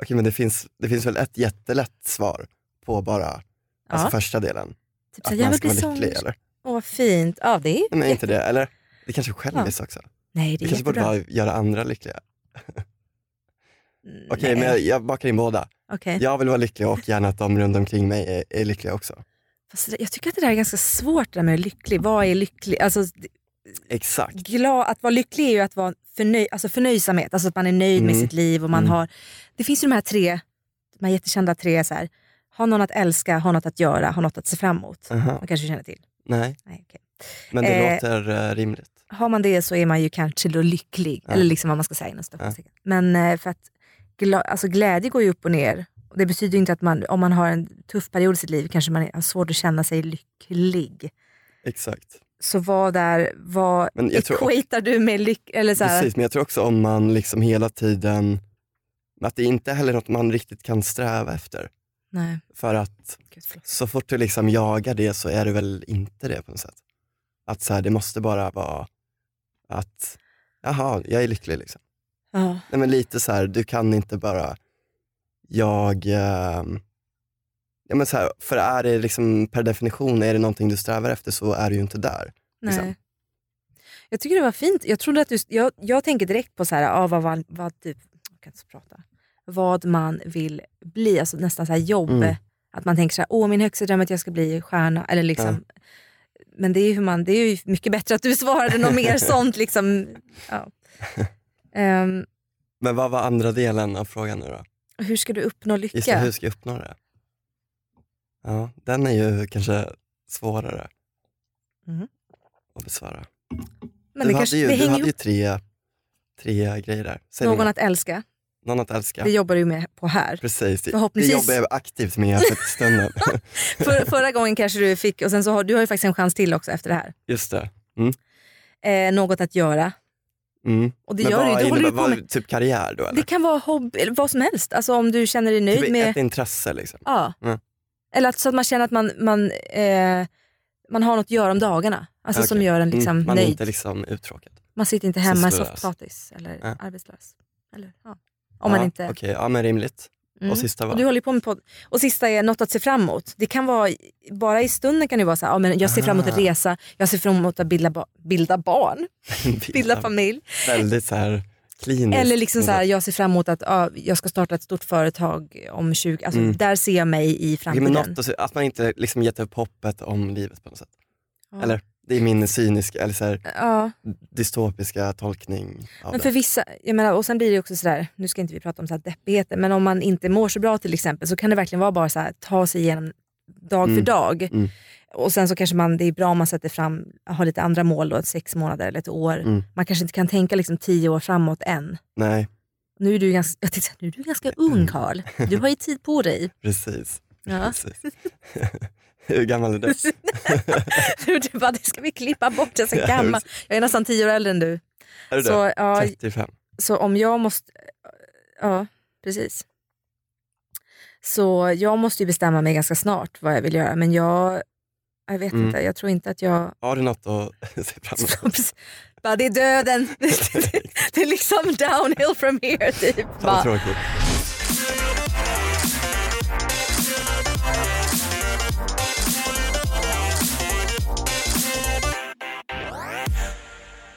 [SPEAKER 4] Okej, men det finns, det finns väl ett jättelätt svar på bara
[SPEAKER 5] Ja.
[SPEAKER 4] alltså första delen?
[SPEAKER 5] Typ så
[SPEAKER 4] Att
[SPEAKER 5] här, jag
[SPEAKER 4] man
[SPEAKER 5] vill
[SPEAKER 4] ska
[SPEAKER 5] bli
[SPEAKER 4] vara lycklig
[SPEAKER 5] sångerska.
[SPEAKER 4] eller?
[SPEAKER 5] Åh, vad fint. Ja, det är...
[SPEAKER 4] Nej, men inte det, eller? Det kanske är själviskt också.
[SPEAKER 5] Nej, det
[SPEAKER 4] Det
[SPEAKER 5] är
[SPEAKER 4] kanske borde
[SPEAKER 5] jättebra.
[SPEAKER 4] bara göra andra lyckliga.
[SPEAKER 5] Mm,
[SPEAKER 4] Okej,
[SPEAKER 5] nej.
[SPEAKER 4] men jag, jag bakar in båda.
[SPEAKER 5] Okej.
[SPEAKER 4] Jag vill vara lycklig och gärna att de runt omkring mig är, är lyckliga också.
[SPEAKER 5] Fast det- jag tycker att det där är ganska svårt det där med lycklig. Vad är lycklig? Alltså, d-
[SPEAKER 4] Exakt.
[SPEAKER 5] glad, att vara lycklig är ju att vara förnöj, alltså förnöjsamhet, alltså att man är nöjd med
[SPEAKER 4] Mm.
[SPEAKER 5] sitt liv. och man
[SPEAKER 4] Mm.
[SPEAKER 5] har... Det finns ju de här tre, de här jättekända tre, så här, ha någon att älska, ha något att göra, ha något att se fram emot.
[SPEAKER 4] Aha.
[SPEAKER 5] Man kanske känner till.
[SPEAKER 4] Nej,
[SPEAKER 5] Nej, okej.
[SPEAKER 4] men det
[SPEAKER 5] Eh.
[SPEAKER 4] låter eh, rimligt.
[SPEAKER 5] Har man det så är man ju kanske då lycklig,
[SPEAKER 4] Ja.
[SPEAKER 5] eller liksom vad man ska säga inom situationstecken. Men eh, för att gla, alltså glädje går ju upp och ner. Och det betyder ju inte att man, om man har en tuff period i sitt liv kanske man har svårt att känna sig lycklig.
[SPEAKER 4] Exakt.
[SPEAKER 5] Så vad där, vad
[SPEAKER 4] Men jag tror-
[SPEAKER 5] equatar du med lyck? Eller så här,
[SPEAKER 4] Precis, men jag tror också om man liksom hela tiden, att det inte heller är något man riktigt kan sträva efter.
[SPEAKER 5] nej,
[SPEAKER 4] För att
[SPEAKER 5] gud, förlåt.
[SPEAKER 4] så fort du liksom jagar det så är du väl inte det på något sätt. Att så här, det måste bara vara att, jaha, jag är lycklig liksom.
[SPEAKER 5] Ja.
[SPEAKER 4] Nej men lite så här, du kan inte bara, jag, ehm, ja men så här, för är det liksom per definition, är det någonting du strävar efter så är du ju inte där. liksom.
[SPEAKER 5] Nej. Jag tycker det var fint. Jag, trodde att du, jag, jag tänker direkt på så här, ah, vad, vad, vad, typ, jag kan inte så prata, vad man vill bli, alltså nästan så här jobb.
[SPEAKER 4] Mm.
[SPEAKER 5] Att man tänker så här, åh min högsta dröm är att jag ska bli stjärna. Eller liksom, Men det är, ju hur man, det är ju mycket bättre att du svarade något
[SPEAKER 4] (laughs)
[SPEAKER 5] mer sånt. Liksom. Ja. Ehm,
[SPEAKER 4] Men vad var andra delen av frågan nu då?
[SPEAKER 5] hur ska du uppnå lycka?
[SPEAKER 4] Just det, hur ska jag uppnå det? Ja, den är ju kanske svårare
[SPEAKER 5] Mhm.
[SPEAKER 4] att besvara.
[SPEAKER 5] men
[SPEAKER 4] du
[SPEAKER 5] det kanske,
[SPEAKER 4] hade ju,
[SPEAKER 5] det
[SPEAKER 4] du
[SPEAKER 5] hänger
[SPEAKER 4] hade ju
[SPEAKER 5] ihop.
[SPEAKER 4] tre, tre grejer där. Säg
[SPEAKER 5] Någon
[SPEAKER 4] någon,
[SPEAKER 5] att älska,
[SPEAKER 4] någon att älska.
[SPEAKER 5] det jobbar du ju med på
[SPEAKER 4] (laughs)
[SPEAKER 5] här.
[SPEAKER 4] Precis, det, det
[SPEAKER 5] Förhoppningsvis-
[SPEAKER 4] jobbar jag aktivt med för
[SPEAKER 5] (laughs)
[SPEAKER 4] stunden.
[SPEAKER 5] För, förra gången kanske du fick, och sen så har du har ju faktiskt en chans till också efter det här.
[SPEAKER 4] Just det.
[SPEAKER 5] Eh, något att göra.
[SPEAKER 4] Mm.
[SPEAKER 5] Och det
[SPEAKER 4] Men
[SPEAKER 5] gör
[SPEAKER 4] vad
[SPEAKER 5] du, ju, då håller
[SPEAKER 4] innebär-
[SPEAKER 5] du på
[SPEAKER 4] vad-
[SPEAKER 5] med.
[SPEAKER 4] Typ karriär då eller?
[SPEAKER 5] Det kan vara hobby, eller vad som helst. Alltså om du känner dig nöjd
[SPEAKER 4] typ
[SPEAKER 5] med...
[SPEAKER 4] ett intresse liksom.
[SPEAKER 5] Ja.
[SPEAKER 4] Mm.
[SPEAKER 5] Eller att, så att man känner att man, man, eh, man har något att göra om dagarna. Alltså som
[SPEAKER 4] Okej.
[SPEAKER 5] gör en liksom
[SPEAKER 4] Mm, man är
[SPEAKER 5] nöjd.
[SPEAKER 4] inte liksom uttråkad.
[SPEAKER 5] Man sitter inte hemma
[SPEAKER 4] slös.
[SPEAKER 5] soffpotatis eller
[SPEAKER 4] Ja.
[SPEAKER 5] arbetslös. Eller, ja. Om man
[SPEAKER 4] Ja,
[SPEAKER 5] inte...
[SPEAKER 4] Okej, ja men rimligt.
[SPEAKER 5] Mm.
[SPEAKER 4] Och sista var? (laughs)
[SPEAKER 5] Och du håller ju på med podd. Och sista är något att se fram emot. Det kan vara, bara i stunden kan det vara så här, ja, men jag ser fram emot att
[SPEAKER 4] Aha.
[SPEAKER 5] resa, jag ser fram emot att bilda, ba- bilda barn, bilda familj.
[SPEAKER 4] Väldigt så här kliniskt.
[SPEAKER 5] Eller liksom så här, jag ser fram emot att ja, jag ska starta ett stort företag om 20, alltså
[SPEAKER 4] Mm.
[SPEAKER 5] där ser jag mig i
[SPEAKER 4] Okej, men
[SPEAKER 5] framtiden.
[SPEAKER 4] något att, se- att man inte liksom gett upp hoppet om livet på något sätt.
[SPEAKER 5] Ja.
[SPEAKER 4] Eller det är min cyniska, eller så här,
[SPEAKER 5] Ja,
[SPEAKER 4] dystopiska tolkning av
[SPEAKER 5] men
[SPEAKER 4] det.
[SPEAKER 5] för vissa, jag menar, och sen blir det ju också sådär, nu ska inte vi prata om så här deppigheter, men om man inte mår så bra till exempel så kan det verkligen vara bara så här, ta sig igenom dag
[SPEAKER 4] Mm.
[SPEAKER 5] för dag.
[SPEAKER 4] Mm.
[SPEAKER 5] Och sen så kanske man, det är bra om man sätter fram, har lite andra mål då, sex månader eller ett år.
[SPEAKER 4] Mm.
[SPEAKER 5] Man kanske inte kan tänka liksom tio år framåt än.
[SPEAKER 4] Nej,
[SPEAKER 5] Nu är du ganska, jag tänkte, säga, nu är du ganska
[SPEAKER 4] Mm.
[SPEAKER 5] ung Karl. Du har ju tid på
[SPEAKER 4] (laughs)
[SPEAKER 5] dig.
[SPEAKER 4] precis.
[SPEAKER 5] Ja.
[SPEAKER 4] precis. (laughs) Hur gammal är du?
[SPEAKER 5] Du bara, det ska vi klippa bort, jag är så gammal. Jag är nästan tio år äldre än du.
[SPEAKER 4] Är du det?
[SPEAKER 5] Så, ja,
[SPEAKER 4] 35?
[SPEAKER 5] så om jag måste... Ja, precis. Så jag måste ju bestämma mig ganska snart vad jag vill göra. Men jag, jag vet
[SPEAKER 4] Mm.
[SPEAKER 5] inte, jag tror inte att jag... (laughs)
[SPEAKER 4] Har du något att se fram emot?
[SPEAKER 5] bara, det är döden. (laughs) det är liksom downhill from here. Typ.
[SPEAKER 4] Fan vad
[SPEAKER 5] Bara,
[SPEAKER 4] tråkigt.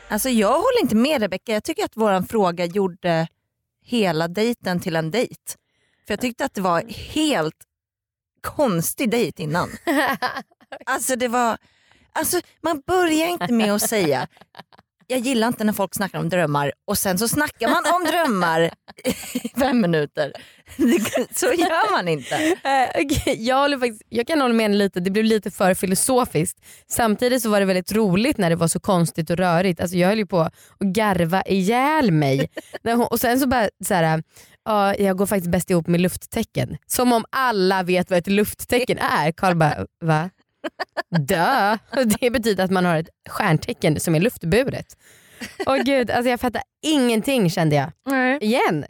[SPEAKER 8] Alltså jag håller inte med Rebecka. Jag tycker att våran fråga gjorde hela dejten till en dejt. För jag tyckte att det var helt konstig dejt innan. Alltså det var... Alltså man börjar inte med att säga jag gillar inte när folk snackar om drömmar och sen så snackar man om drömmar i (laughs) fem minuter. Det- Så gör man inte.
[SPEAKER 2] Eh, okej, jag, håller faktiskt, jag kan hålla med en lite, det blev lite för filosofiskt. Samtidigt så var det väldigt roligt när det var så konstigt och rörigt. Alltså jag höll ju på att garva ihjäl mig. När hon, och sen så bara så här, ja, jag går faktiskt bäst ihop med lufttecken. Som om alla vet vad ett lufttecken är. Karl bara, va? Dö. (laughs) Det betyder att man har ett stjärntecken som är luftburet. Åh gud, alltså jag fattar ingenting kände jag.
[SPEAKER 5] nej.
[SPEAKER 2] Igen.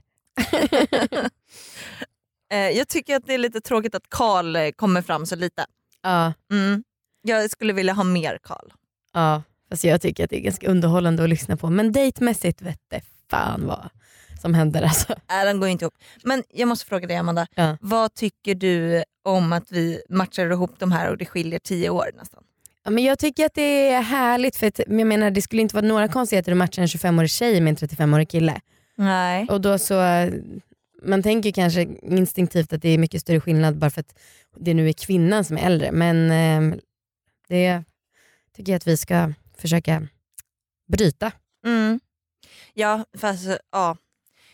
[SPEAKER 8] Eh, jag tycker att det är lite tråkigt att Karl eh, kommer fram så lite.
[SPEAKER 2] Ja,
[SPEAKER 8] Mm. Jag skulle vilja ha mer Karl.
[SPEAKER 2] ja. Fast jag tycker att det är ganska underhållande att lyssna på. Men dejtmässigt vette fan vad som händer alltså.
[SPEAKER 8] Nej, den går inte ihop. Men jag måste fråga dig Amanda,
[SPEAKER 2] Ja.
[SPEAKER 8] vad tycker du om att vi matchar ihop de här och det skiljer tio år nästan?
[SPEAKER 2] Ja, men jag tycker att det är härligt för att, men jag menar, det skulle inte vara några konstigheter att matcha en 25-årig tjej med en 35-årig kille.
[SPEAKER 8] Nej.
[SPEAKER 2] Och då så, eh, man tänker kanske instinktivt att det är mycket större skillnad bara för att det nu är kvinnan som är äldre. Men eh, det tycker jag att vi ska försöka bryta.
[SPEAKER 8] Mm. Ja, fast ja.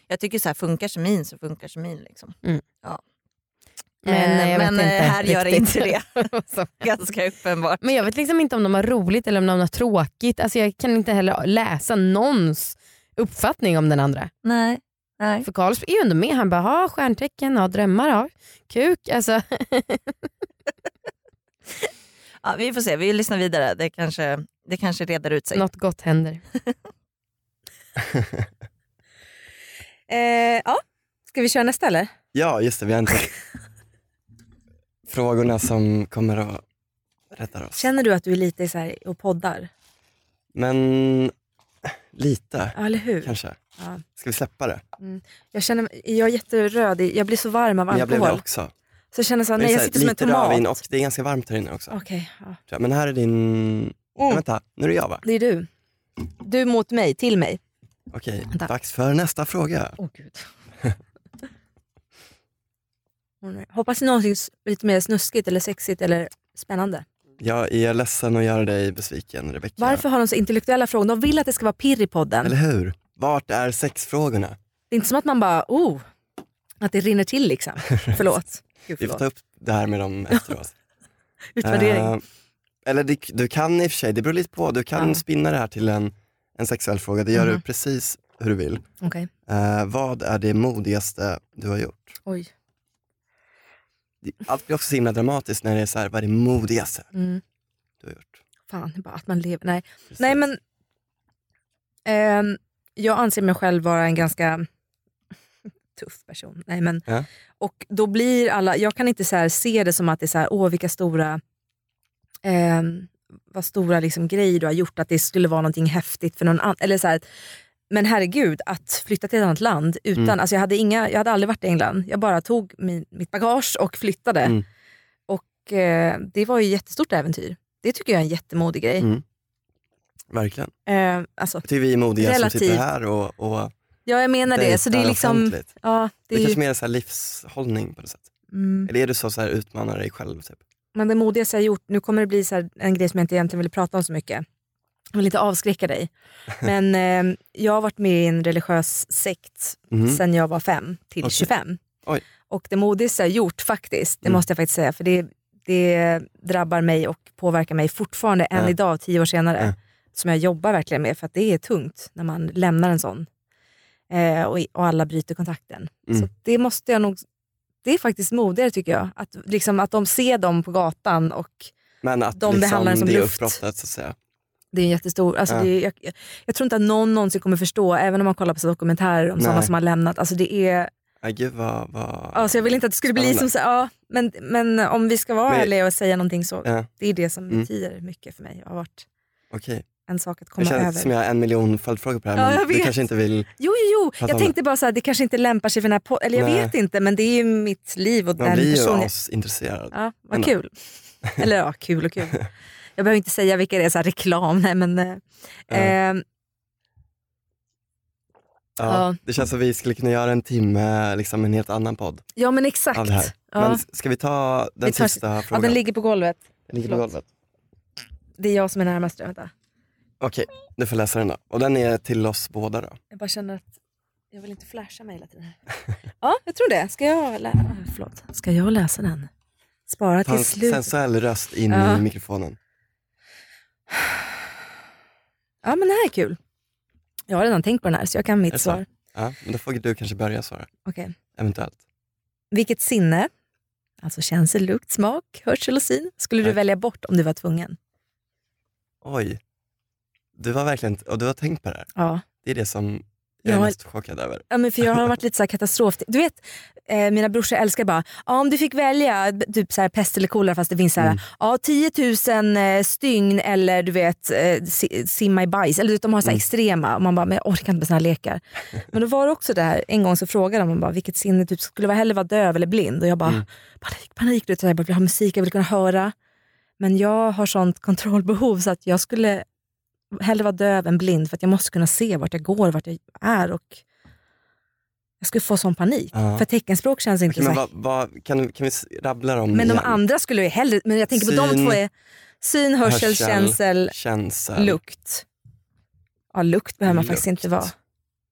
[SPEAKER 8] Jag tycker så här, funkar kemin så funkar kemin liksom.
[SPEAKER 2] Mm.
[SPEAKER 8] Ja.
[SPEAKER 2] Men,
[SPEAKER 8] Eh,
[SPEAKER 2] jag vet
[SPEAKER 8] men eh,
[SPEAKER 2] inte
[SPEAKER 8] här gör det inte
[SPEAKER 2] riktigt.
[SPEAKER 8] det.
[SPEAKER 2] (laughs) Så.
[SPEAKER 8] Ganska uppenbart.
[SPEAKER 2] Men jag vet liksom inte om de har roligt eller om de har tråkigt. Alltså jag kan inte heller läsa någons uppfattning om den andra.
[SPEAKER 8] Nej. Nej.
[SPEAKER 2] För Karls är ju ändå med. Han bara, ha stjärntecken, ha drömmar, ha kuk. Alltså,
[SPEAKER 8] Ja, vi får se, vi lyssnar vidare. Det kanske, det kanske reder ut sig.
[SPEAKER 2] något gott händer.
[SPEAKER 5] Eh, ja. Ska vi köra nästa eller?
[SPEAKER 4] Ja, just det. Vi har inte frågorna som kommer att rädda oss.
[SPEAKER 5] Känner du att du är lite så här och poddar?
[SPEAKER 4] Men lite,
[SPEAKER 5] Ja, eller hur?
[SPEAKER 4] kanske.
[SPEAKER 5] Ja.
[SPEAKER 4] Ska vi släppa det?
[SPEAKER 5] Jag, känner, jag är jätteröd, i- jag blir så varm av
[SPEAKER 4] Men jag blev det
[SPEAKER 5] alkohol.
[SPEAKER 4] också.
[SPEAKER 5] Så jag känner så här,
[SPEAKER 4] Men
[SPEAKER 5] nej
[SPEAKER 4] det är
[SPEAKER 5] jag
[SPEAKER 4] så här,
[SPEAKER 5] sitter som en
[SPEAKER 4] lite rödvin
[SPEAKER 5] tomat.
[SPEAKER 4] och det är ganska varmt här inne också. tror
[SPEAKER 5] Okej, ja.
[SPEAKER 4] jag. Men här är din...
[SPEAKER 5] Mm.
[SPEAKER 4] Ja, vänta, nu är det jag va?
[SPEAKER 5] det är du. Du mot mig, till mig.
[SPEAKER 4] Okej,
[SPEAKER 5] Vänta.
[SPEAKER 4] dags för nästa fråga.
[SPEAKER 5] Åh
[SPEAKER 4] (laughs)
[SPEAKER 5] gud. Hoppas det är någonting s- lite mer snuskigt eller sexigt eller spännande.
[SPEAKER 4] Jag är ledsen att göra dig besviken Rebecca.
[SPEAKER 5] Varför har de så intellektuella frågor? De vill att det ska vara pirr i podden.
[SPEAKER 4] Eller hur? Vart är sexfrågorna?
[SPEAKER 5] Det är inte som att man bara, oh, att det rinner till
[SPEAKER 4] (laughs)
[SPEAKER 5] liksom. Förlåt. Gud,
[SPEAKER 4] Vi får
[SPEAKER 5] förlåt.
[SPEAKER 4] ta upp det här
[SPEAKER 5] (laughs)
[SPEAKER 4] med dem efteråt.
[SPEAKER 5] Utvärdering.
[SPEAKER 4] Eh, eller det, du kan i och för sig, det beror lite på. Du kan
[SPEAKER 5] Ja.
[SPEAKER 4] spinna det här till en, en sexuell fråga. Det gör du
[SPEAKER 5] Mhm.
[SPEAKER 4] precis hur du vill.
[SPEAKER 5] Okej.
[SPEAKER 4] Eh, vad är det modigaste du har gjort?
[SPEAKER 5] Oj.
[SPEAKER 4] Det- Allt blir också så himla dramatiskt när det är så här, vad är det modigaste
[SPEAKER 5] Mm.
[SPEAKER 4] du har gjort?
[SPEAKER 5] Fan, det är bara att man lever. Nej.
[SPEAKER 4] Precis.
[SPEAKER 5] Nej men, ehm, jag anser mig själv vara en ganska (laughs) tuff person. Nej, men,
[SPEAKER 4] Ja.
[SPEAKER 5] Och då blir alla, jag kan inte så här se det som att det är så här, åh vilka stora, ehm, vad stora liksom grejer du har gjort, att det skulle vara någonting häftigt för någon annan. Eller så här, men herregud, att flytta till ett annat land utan,
[SPEAKER 4] Mm.
[SPEAKER 5] alltså jag hade, inga, jag hade aldrig varit i England. Jag bara tog min, mitt bagage och flyttade.
[SPEAKER 4] Mm.
[SPEAKER 5] Och eh, det var ju ett jättestort äventyr. Det tycker jag är en jättemodig grej.
[SPEAKER 4] Mm. Verkligen.
[SPEAKER 5] Eh, alltså,
[SPEAKER 4] Jag tycker vi är modiga som sitter
[SPEAKER 5] Relativt.
[SPEAKER 4] här och, och
[SPEAKER 5] ja, jag menar det. Så det är
[SPEAKER 4] dejtar
[SPEAKER 5] liksom...
[SPEAKER 4] offentligt.
[SPEAKER 5] Ja,
[SPEAKER 4] Det
[SPEAKER 5] det är
[SPEAKER 4] kanske
[SPEAKER 5] ju,
[SPEAKER 4] mer är så här livshållning på något sätt.
[SPEAKER 5] mm,
[SPEAKER 4] Eller är du så, så här utmanar dig själv? Typ?
[SPEAKER 5] men det modigaste jag gjort, nu kommer det bli så här en grej som jag inte egentligen ville prata om så mycket. Jag vill inte avskräcka dig. (laughs) Men eh, jag har varit med i en religiös sekt
[SPEAKER 4] Mhm.
[SPEAKER 5] sedan jag var fem till
[SPEAKER 4] Okej.
[SPEAKER 5] 25.
[SPEAKER 4] Oj.
[SPEAKER 5] Och det modigaste jag gjort faktiskt, det
[SPEAKER 4] Mm.
[SPEAKER 5] måste jag faktiskt säga, för det, det drabbar mig och påverkar mig fortfarande än
[SPEAKER 4] Ja.
[SPEAKER 5] idag, tio år senare.
[SPEAKER 4] Ja.
[SPEAKER 5] Som jag jobbar verkligen med, för att det är tungt när man lämnar en sån. Eh, och, i- och alla bryter kontakten.
[SPEAKER 4] Mm.
[SPEAKER 5] Så det måste jag nog, det är faktiskt modigare tycker jag. Att, liksom, att de ser dem på gatan och
[SPEAKER 4] Men att
[SPEAKER 5] De
[SPEAKER 4] liksom,
[SPEAKER 5] behandlar den som
[SPEAKER 4] det
[SPEAKER 5] luft.
[SPEAKER 4] uppbrottet så att säga.
[SPEAKER 5] Det är en jättestor, alltså
[SPEAKER 4] Ja.
[SPEAKER 5] det är, jag, jag- jag tror inte att någon någonsin kommer förstå, även om man kollar på så dokumentärer om sådana
[SPEAKER 4] Nej.
[SPEAKER 5] som har lämnat. Alltså det är,
[SPEAKER 4] Ja, gud vad... vad...
[SPEAKER 5] alltså jag vill inte att det skulle bli som
[SPEAKER 4] Spännande.
[SPEAKER 5] så, ja, men, men om vi ska vara
[SPEAKER 4] Men-
[SPEAKER 5] ärliga och säga någonting så,
[SPEAKER 4] Ja,
[SPEAKER 5] det är det som
[SPEAKER 4] Mm.
[SPEAKER 5] betyder mycket för mig. Det har varit
[SPEAKER 4] okej.
[SPEAKER 5] en sak att
[SPEAKER 4] Jag
[SPEAKER 5] komma
[SPEAKER 4] känner
[SPEAKER 5] över.
[SPEAKER 4] som jag har en miljon följdfrågor på det
[SPEAKER 5] Ja,
[SPEAKER 4] här
[SPEAKER 5] jag
[SPEAKER 4] men du
[SPEAKER 5] vet.
[SPEAKER 4] kanske inte vill...
[SPEAKER 5] Jo, jo, jo.
[SPEAKER 4] Prata
[SPEAKER 5] jag
[SPEAKER 4] om
[SPEAKER 5] tänkte bara så här, det kanske inte lämpar sig för den här podden, eller jag
[SPEAKER 4] Nej.
[SPEAKER 5] vet inte, men det är ju mitt liv och
[SPEAKER 4] Man
[SPEAKER 5] den
[SPEAKER 4] blir ju
[SPEAKER 5] personen.
[SPEAKER 4] asintresserad.
[SPEAKER 5] Ja, vad
[SPEAKER 4] Ändå. (laughs)
[SPEAKER 5] kul. Eller ja, kul och kul. Jag behöver inte säga vilka det är, så här, reklam, nej men. Eh,
[SPEAKER 4] Ja.
[SPEAKER 5] ehm,
[SPEAKER 4] Ja.
[SPEAKER 5] ja.
[SPEAKER 4] Det känns som vi skulle kunna göra en timme, liksom en helt annan podd
[SPEAKER 5] ja, men exakt.
[SPEAKER 4] av det här.
[SPEAKER 5] Ja.
[SPEAKER 4] Men ska vi ta den
[SPEAKER 5] Vi tar-
[SPEAKER 4] sista
[SPEAKER 5] Ja,
[SPEAKER 4] frågan?
[SPEAKER 5] den ligger på golvet.
[SPEAKER 4] Den ligger på
[SPEAKER 5] förlåt.
[SPEAKER 4] golvet.
[SPEAKER 5] Det är jag som är närmast. Vänta.
[SPEAKER 4] Okej, du får läsa den då. Och den är till oss båda då.
[SPEAKER 5] Jag bara känner att jag vill inte flasha mig hela tiden. (laughs) ja, jag tror det. Ska jag, lä- Ah, förlåt. Ska jag läsa den? Spara
[SPEAKER 4] Ta en
[SPEAKER 5] till slut.
[SPEAKER 4] sensuell röst in
[SPEAKER 5] Ja.
[SPEAKER 4] i mikrofonen.
[SPEAKER 5] Ja, men det här är kul. Jag har redan tänkt på den här, så jag kan
[SPEAKER 4] Är det
[SPEAKER 5] mitt
[SPEAKER 4] så?
[SPEAKER 5] svar.
[SPEAKER 4] Ja, men då får du kanske börja svara,
[SPEAKER 5] Okej.
[SPEAKER 4] eventuellt.
[SPEAKER 5] Vilket sinne, alltså känsel, lukt, smak, hörsel och syn, skulle du
[SPEAKER 4] Nej.
[SPEAKER 5] välja bort om du var tvungen?
[SPEAKER 4] Oj, du var verkligen, och du har tänkt på det här.
[SPEAKER 5] Ja.
[SPEAKER 4] Det är det som Jag är
[SPEAKER 5] Ja.
[SPEAKER 4] mest chockad över.
[SPEAKER 5] Ja, men för jag har varit lite så här katastrof. Du vet, eh, mina brorsor älskar bara, ja, om du fick välja b- typ så här pest eller kolera fast det finns så
[SPEAKER 4] Mm.
[SPEAKER 5] här, ja, 10 000 eh, stygn eller du vet eh, si- simma i bajs. Eller du vet, de har
[SPEAKER 4] Mm.
[SPEAKER 5] så här extrema och man bara, men jag orkar inte med såna här lekar.
[SPEAKER 4] (laughs)
[SPEAKER 5] men då var det också det här, en gång så frågade de, man bara, vilket sinne typ, skulle jag hellre vara döv eller blind? Och jag bara,
[SPEAKER 4] Mm.
[SPEAKER 5] panik, panik. Du vet, så här, jag bara vill ha musik, jag vill kunna höra. Men jag har sånt kontrollbehov så att jag skulle hellre vara döv än blind för att jag måste kunna se vart jag går, vart jag är och jag skulle få sån panik.
[SPEAKER 4] Ja.
[SPEAKER 5] För teckenspråk känns inte
[SPEAKER 4] Okej, men
[SPEAKER 5] så här.
[SPEAKER 4] vad, vad, kan, kan vi s- rabbla dem
[SPEAKER 5] Men de
[SPEAKER 4] igen?
[SPEAKER 5] andra skulle ju hellre, men jag tänker på de
[SPEAKER 4] Syn,
[SPEAKER 5] två är syn, hörsel,
[SPEAKER 4] hörsel,
[SPEAKER 5] känsel,
[SPEAKER 4] Känsel.
[SPEAKER 5] lukt. Ja, lukt behöver man faktiskt
[SPEAKER 4] Lukt.
[SPEAKER 5] inte vara.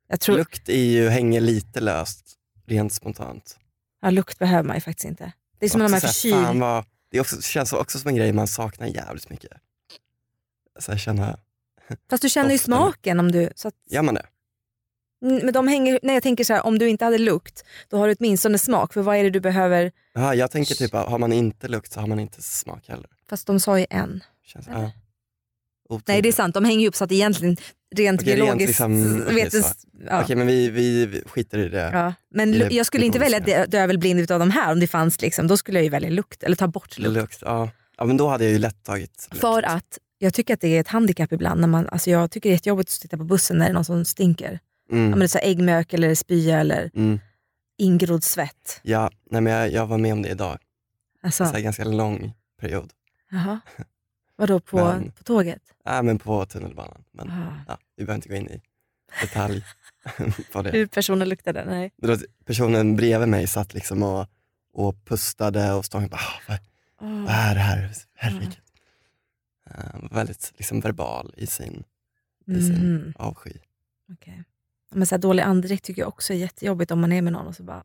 [SPEAKER 5] Jag tror,
[SPEAKER 4] Lukt är ju, hänger lite löst, rent spontant.
[SPEAKER 5] Ja, lukt behöver man ju faktiskt inte. Det är som när man är
[SPEAKER 4] Också så här, fan
[SPEAKER 5] förkyld.
[SPEAKER 4] vad, det är också, känns också som en grej man saknar jävligt mycket. Så här, känna,
[SPEAKER 5] Fast du känner ju
[SPEAKER 4] Ofta.
[SPEAKER 5] smaken om du... Så att,
[SPEAKER 4] gör man det?
[SPEAKER 5] Mm, Men de hänger, nej jag tänker så här, om du inte hade lukt, då har du åtminstone smak. För vad är det du behöver?
[SPEAKER 4] Ja, jag tänker typ, har man inte lukt så har man inte smak heller.
[SPEAKER 5] Fast de sa ju en.
[SPEAKER 4] Känns, ja.
[SPEAKER 5] Nej det är sant, de hänger ju upp så att egentligen rent
[SPEAKER 4] Typ. Okej, rent
[SPEAKER 5] biologiskt...
[SPEAKER 4] liksom- okej,
[SPEAKER 5] vetens-
[SPEAKER 4] så.
[SPEAKER 5] ja,
[SPEAKER 4] Okej, men vi, vi, vi skiter i det.
[SPEAKER 5] ja. Men lu-
[SPEAKER 4] Eller
[SPEAKER 5] jag skulle inte välja
[SPEAKER 4] biologiska.
[SPEAKER 5] dö- döv eller blind utav de här om det fanns. Liksom. Då skulle jag ju välja lukt, eller ta bort lukt.
[SPEAKER 4] Lukt, ja. ja, men då hade jag ju lätt tagit lukt.
[SPEAKER 5] För att jag tycker att det är ett handikapp ibland. När man, alltså jag tycker det är jättejobbigt att sitta på bussen när det är någon som stinker. Ja, men
[SPEAKER 4] Mm,
[SPEAKER 5] det är så här äggmök eller spya eller
[SPEAKER 4] mm.
[SPEAKER 5] ingrodd svett.
[SPEAKER 4] Ja, nej, men jag, jag var med om det idag.
[SPEAKER 5] Alltså,
[SPEAKER 4] Så här, ganska lång period.
[SPEAKER 5] jaha. Vadå, på,
[SPEAKER 4] Men-
[SPEAKER 5] på tåget?
[SPEAKER 4] Äh, men på tunnelbanan. Men,
[SPEAKER 5] Ah.
[SPEAKER 4] ja, vi behöver inte gå in i detalj (laughs) på det.
[SPEAKER 5] Hur personen luktade? Nej.
[SPEAKER 4] Då Personen bredvid mig satt liksom och, och pustade och stod och bara, ah, vad, vad är det här? Herregud. Eh, väldigt liksom, verbal i sin, i sin
[SPEAKER 5] Mhm,
[SPEAKER 4] avsky.
[SPEAKER 5] okej. Men så här dålig andedräkt tycker jag också är jättejobbigt om man är med någon och så bara...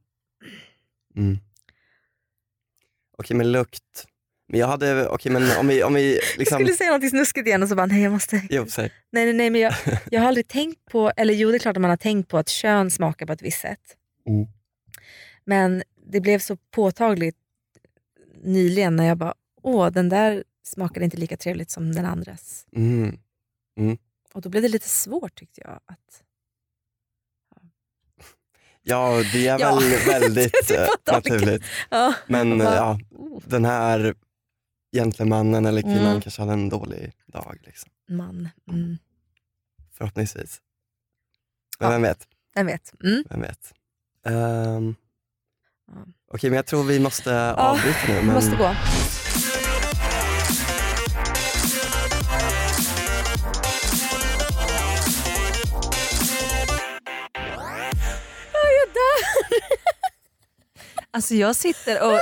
[SPEAKER 4] Mm. Okej, men lukt. Men jag hade, okej men om vi, om vi
[SPEAKER 5] Jag
[SPEAKER 4] liksom...
[SPEAKER 5] skulle säga något snuskigt igen och så bara nej jag måste...
[SPEAKER 4] Jo, säg.
[SPEAKER 5] Nej nej nej men jag, jag har aldrig tänkt på, eller jo det är klart att man har tänkt på att kön smakar på ett visst sätt.
[SPEAKER 4] Mm.
[SPEAKER 5] Men det blev så påtagligt nyligen när jag bara åh den där smakade inte lika trevligt som den andras.
[SPEAKER 4] Mm.
[SPEAKER 5] Och då blev det lite svårt tyckte jag. Att...
[SPEAKER 4] Ja, det är
[SPEAKER 5] Ja. (laughs)
[SPEAKER 4] väl väldigt
[SPEAKER 5] Det var
[SPEAKER 4] eh,
[SPEAKER 5] dåligt.
[SPEAKER 4] naturligt.
[SPEAKER 5] Ja.
[SPEAKER 4] Men eh,
[SPEAKER 5] Va?
[SPEAKER 4] ja, den här gentlemannen eller kvinnan
[SPEAKER 5] Mm.
[SPEAKER 4] kanske hade en dålig dag. Liksom.
[SPEAKER 5] Man, mm,
[SPEAKER 4] Förhoppningsvis. Men
[SPEAKER 5] Ja.
[SPEAKER 4] vem vet?
[SPEAKER 5] vem vet. Mm.
[SPEAKER 4] Vem vet? Ehm,
[SPEAKER 5] Ja.
[SPEAKER 4] Okej, men jag tror vi måste avbryta nu.
[SPEAKER 5] Vi
[SPEAKER 4] Men
[SPEAKER 5] måste gå.
[SPEAKER 8] Alltså jag sitter och...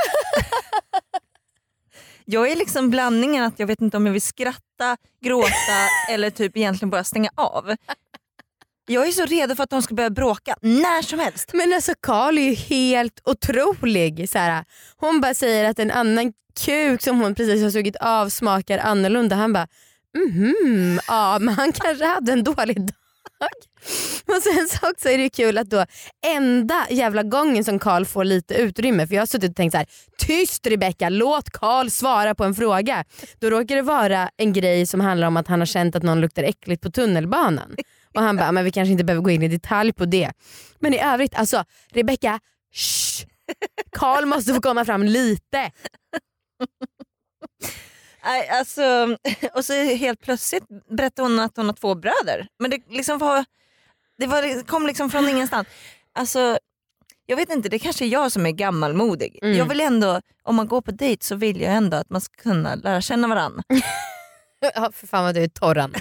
[SPEAKER 8] jag är liksom blandningen att jag vet inte om jag vill skratta, gråta eller typ egentligen bara stänga av. Jag är så redo för att de ska börja bråka när som helst.
[SPEAKER 2] Men alltså Karl är ju helt otrolig. Så här, hon bara säger att en annan kuk som hon precis har sugit av smakar annorlunda. Han bara mhm, ja men han kanske hade en dålig dag. Och sen så också är det ju kul att då enda jävla gången som Karl får lite utrymme, för jag har suttit och tänkt så här: tyst Rebecka, låt Karl svara på en fråga. Då råkar det vara en grej som handlar om att han har känt att någon luktar äckligt på tunnelbanan. Och han bara, men vi kanske inte behöver gå in i detalj på det. Men i övrigt, alltså Rebecka, shh! Karl måste få komma fram lite.
[SPEAKER 8] Nej, alltså, (laughs) och så helt plötsligt berättade hon att hon har två bröder. Men det, liksom var, det var, kom liksom från ingenstans. Alltså, jag vet inte, det kanske är jag som är gammalmodig.
[SPEAKER 2] Mm.
[SPEAKER 8] Jag vill ändå, om man går på dejt så vill jag ändå att man ska kunna lära känna varandra.
[SPEAKER 2] (laughs) Ja, för fan vad du är torran.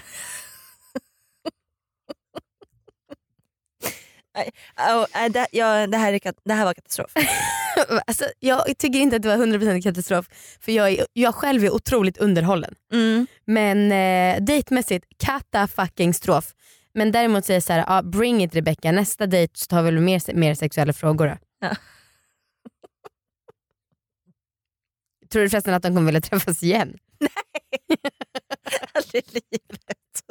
[SPEAKER 8] Oh, det, ja, det, här är, kat- det här
[SPEAKER 3] (laughs)
[SPEAKER 8] var katastrof.
[SPEAKER 2] (laughs) Alltså, jag tycker inte att det var 100% katastrof för jag, är, jag själv är otroligt underhållen.
[SPEAKER 8] Mm.
[SPEAKER 2] Men eh, dejtmässigt, kata fucking strof. Men däremot säger jag såhär, ah, bring it Rebecka, nästa dejt så tar vi väl mer, mer sexuella frågor då.
[SPEAKER 8] Ja.
[SPEAKER 2] (laughs) Tror du förresten att de kommer vilja träffas igen?
[SPEAKER 8] Aldrig i livet.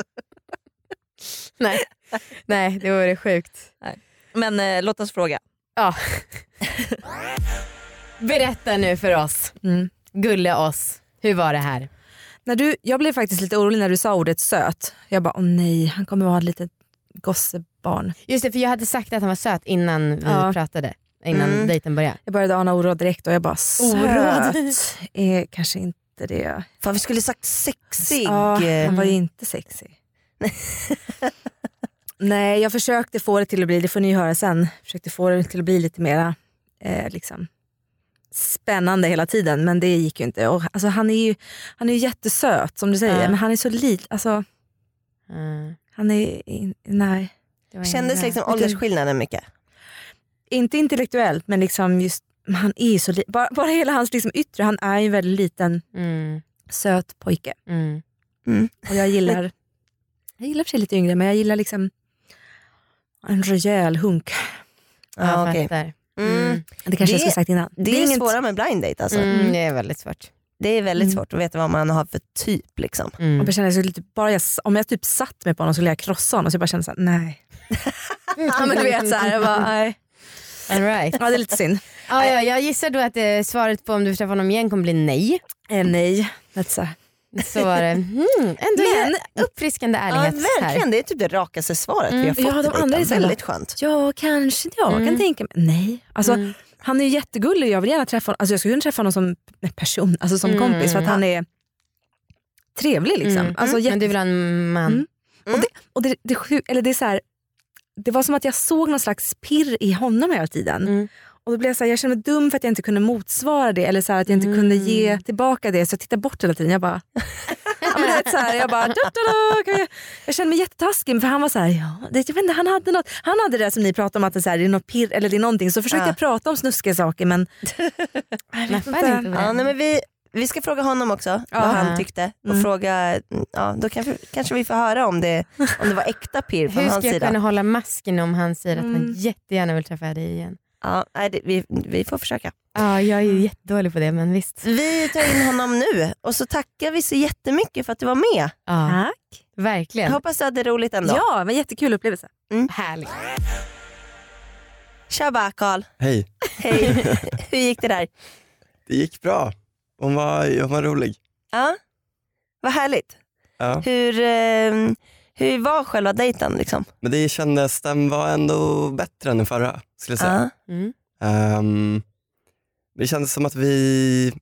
[SPEAKER 2] (laughs) Nej, Nej det vore sjukt.
[SPEAKER 8] Men eh, låt oss fråga.
[SPEAKER 2] Ja. Berätta nu för oss,
[SPEAKER 5] Mm.
[SPEAKER 2] gulle oss, hur var det här?
[SPEAKER 5] När du, jag blev faktiskt lite orolig när du sa ordet söt. Jag bara, åh nej, han kommer att ha ett litet gossebarn.
[SPEAKER 2] Just det, för jag hade sagt att han var söt innan vi
[SPEAKER 5] Ja.
[SPEAKER 2] pratade. Innan
[SPEAKER 5] Mm.
[SPEAKER 2] dejten började.
[SPEAKER 5] Jag började ana oråd direkt och jag bara söt är kanske inte det.
[SPEAKER 3] Fan vi skulle sagt sexig.
[SPEAKER 5] Ja, han var ju
[SPEAKER 3] Mm.
[SPEAKER 5] inte sexy. (laughs) Nej jag försökte få det till att bli, det får ni höra sen, försökte få det till att bli lite mera eh, liksom, spännande hela tiden men det gick ju inte. Och, alltså, han, är ju, han är ju jättesöt som du säger
[SPEAKER 2] Ja.
[SPEAKER 5] men han är så liten, alltså,
[SPEAKER 2] Mm.
[SPEAKER 5] han är, in, nej. det var
[SPEAKER 3] Kändes
[SPEAKER 5] ingen-
[SPEAKER 3] liksom
[SPEAKER 5] Vilken-
[SPEAKER 3] åldersskillnaden mycket?
[SPEAKER 5] inte intellektuellt men liksom just, men han är så li- bara, bara hela hans liksom yttre, han är ju en väldigt liten
[SPEAKER 2] Mm.
[SPEAKER 5] söt pojke.
[SPEAKER 2] Mm.
[SPEAKER 5] Och jag gillar, (laughs) jag gillar för sig lite yngre men jag gillar liksom en rejäl hunk.
[SPEAKER 2] Ja,
[SPEAKER 8] Ah,
[SPEAKER 3] Ja,
[SPEAKER 2] jag
[SPEAKER 3] Ah, okej.
[SPEAKER 2] fattar.
[SPEAKER 3] Mm.
[SPEAKER 5] Det kanske jag
[SPEAKER 3] Det-
[SPEAKER 5] skulle ha sagt innan.
[SPEAKER 3] Det är,
[SPEAKER 5] inget-
[SPEAKER 3] svåra med blind date alltså.
[SPEAKER 2] Mm, det är väldigt svårt.
[SPEAKER 3] Det är väldigt
[SPEAKER 5] Mm.
[SPEAKER 3] svårt att veta vad man har för typ liksom.
[SPEAKER 5] Jag
[SPEAKER 2] Mm.
[SPEAKER 5] bara kände, jag skulle typ, bara jag, om jag typ satt mig på honom så skulle jag krossa honom. Så jag bara kände såhär, nej. (laughs) ja, men du vet, så här, jag (laughs) bara, nej.
[SPEAKER 2] All right.
[SPEAKER 5] (laughs) Ja, det är lite synd.
[SPEAKER 2] ja, ja, jag gissar då att eh, svaret på om du träffar honom igen kommer bli nej.
[SPEAKER 5] Eh, nej. That's a...
[SPEAKER 2] Så var det. Mm, ändå
[SPEAKER 5] Men-
[SPEAKER 2] en uppfriskande
[SPEAKER 3] Ja,
[SPEAKER 2] ärlighet här.
[SPEAKER 3] verkligen, det är typ det rakaste svaret vi
[SPEAKER 2] Mm.
[SPEAKER 3] har fått.
[SPEAKER 5] Ja, de
[SPEAKER 3] i dejten.
[SPEAKER 5] andra är så här-
[SPEAKER 3] väldigt skönt.
[SPEAKER 5] Ja, kanske jag
[SPEAKER 2] Mm.
[SPEAKER 5] kan tänka mig. Nej. Alltså,
[SPEAKER 2] Mm.
[SPEAKER 5] Han är ju jättegullig och jag vill gärna träffa honom. Alltså, jag skulle kunna träffa honom som person, alltså som
[SPEAKER 2] Mm.
[SPEAKER 5] kompis för att han är trevlig. Liksom.
[SPEAKER 2] Mm.
[SPEAKER 5] Alltså, jätte-
[SPEAKER 2] Men du vill ha en man.
[SPEAKER 5] Mm. och det, det, sju- eller det, är så här, det var som att jag såg någon slags pirr i honom hela tiden.
[SPEAKER 2] Mm.
[SPEAKER 5] Och då blev jag, så här, jag kände mig dum för att jag inte kunde motsvara det eller så här, att jag inte kunde
[SPEAKER 3] Mm.
[SPEAKER 5] ge tillbaka det. Så jag tittade bort hela tiden. Jag bara, (laughs) ja, men du vet, så här, jag, bara da, da, da, kan jag, jag kände mig jättetaskig för han var så här, ja, det, jag vet inte, han hade något. Han hade det som ni pratade om att det, så här, det är något pirr eller det är någonting. Så försökte
[SPEAKER 3] Ja.
[SPEAKER 5] jag prata om snuskiga saker men jag vet
[SPEAKER 2] Nappar
[SPEAKER 5] inte.
[SPEAKER 2] inte på
[SPEAKER 3] Ja,
[SPEAKER 2] den.
[SPEAKER 3] nej, men vi, vi ska fråga honom också vad han tyckte. Och
[SPEAKER 5] Mm.
[SPEAKER 3] fråga, ja, då kanske, kanske vi får höra om det, om det var äkta pirr från
[SPEAKER 2] Hur
[SPEAKER 3] hans
[SPEAKER 2] ska jag
[SPEAKER 3] sida.
[SPEAKER 2] kunna hålla masken om han säger att han
[SPEAKER 5] Mm.
[SPEAKER 2] jättegärna vill träffa dig igen? Mm.
[SPEAKER 3] Ja, nej, det, vi, vi får försöka.
[SPEAKER 2] Ja, jag är ju jättedålig på det men visst.
[SPEAKER 3] Vi tar in honom nu och så tackar vi så jättemycket för att du var med.
[SPEAKER 2] Ja,
[SPEAKER 5] Tack.
[SPEAKER 3] Jag
[SPEAKER 2] verkligen.
[SPEAKER 3] hoppas du hade roligt ändå.
[SPEAKER 5] Ja, det var en jättekul upplevelse.
[SPEAKER 2] Härligt.
[SPEAKER 3] Tjaba Karl,
[SPEAKER 4] Hej.
[SPEAKER 3] hej. Hur gick det där?
[SPEAKER 4] Det gick bra. Hon var, hon var rolig.
[SPEAKER 3] Ja, vad härligt.
[SPEAKER 4] Ja.
[SPEAKER 3] Hur, eh, hur var själva dejten? Liksom?
[SPEAKER 4] Men det kändes, den var ändå bättre än den förra skulle jag säga.
[SPEAKER 3] Ja.
[SPEAKER 2] Mm.
[SPEAKER 4] Ehm, det kändes som att vi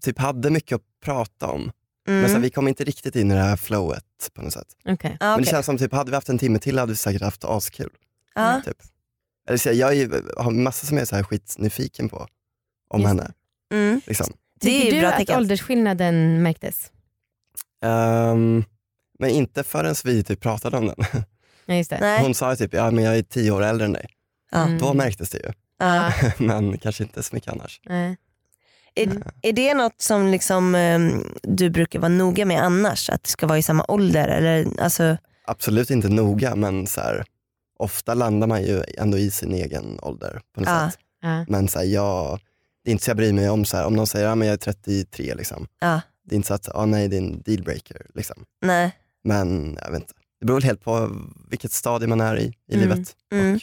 [SPEAKER 4] typ hade mycket att prata om. Men så här,
[SPEAKER 3] Mm.
[SPEAKER 4] vi kom inte riktigt in i det här flowet på något sätt.
[SPEAKER 2] Okej.
[SPEAKER 3] Ja,
[SPEAKER 4] Men det
[SPEAKER 3] okej.
[SPEAKER 4] känns som typ, hade vi haft en timme till hade vi säkert haft askul.
[SPEAKER 3] Ja.
[SPEAKER 4] Typ. Eller, så här, jag är, ju- har massa som jag är så här skitnyfiken på om
[SPEAKER 2] Just
[SPEAKER 4] henne.
[SPEAKER 3] Mm.
[SPEAKER 4] Liksom.
[SPEAKER 3] Det är
[SPEAKER 2] Tycker
[SPEAKER 3] ju
[SPEAKER 2] du
[SPEAKER 3] bra
[SPEAKER 2] att
[SPEAKER 3] tecken.
[SPEAKER 2] åldersskillnaden märktes?
[SPEAKER 4] Ehm, men inte förrän vi typ pratade om den.
[SPEAKER 2] Ja, just det.
[SPEAKER 3] Nej.
[SPEAKER 4] Hon sa ju typ, ja men jag är tio år äldre än dig.
[SPEAKER 3] Ja.
[SPEAKER 2] Mm.
[SPEAKER 4] Då märktes det ju.
[SPEAKER 3] Ja.
[SPEAKER 4] (laughs) men kanske inte så mycket annars.
[SPEAKER 2] Nej.
[SPEAKER 3] Är, är det något som liksom, ehm, du brukar vara noga med annars? Att det ska vara i samma ålder? Eller, alltså,
[SPEAKER 4] Absolut inte noga men så här, ofta landar man ju ändå i sin egen ålder på något
[SPEAKER 3] Ja.
[SPEAKER 4] sätt.
[SPEAKER 2] Ja.
[SPEAKER 4] Men så här, jag, det är inte så jag bryr mig om, så här, om någon säger att men jag är 33, liksom.
[SPEAKER 3] Ja.
[SPEAKER 4] det är inte så att ah, nej, det är en dealbreaker. Liksom.
[SPEAKER 3] nej.
[SPEAKER 4] Men jag vet inte. Det beror väl helt på vilket stadie man är i, i
[SPEAKER 2] Mm.
[SPEAKER 4] livet
[SPEAKER 3] Mm.
[SPEAKER 4] och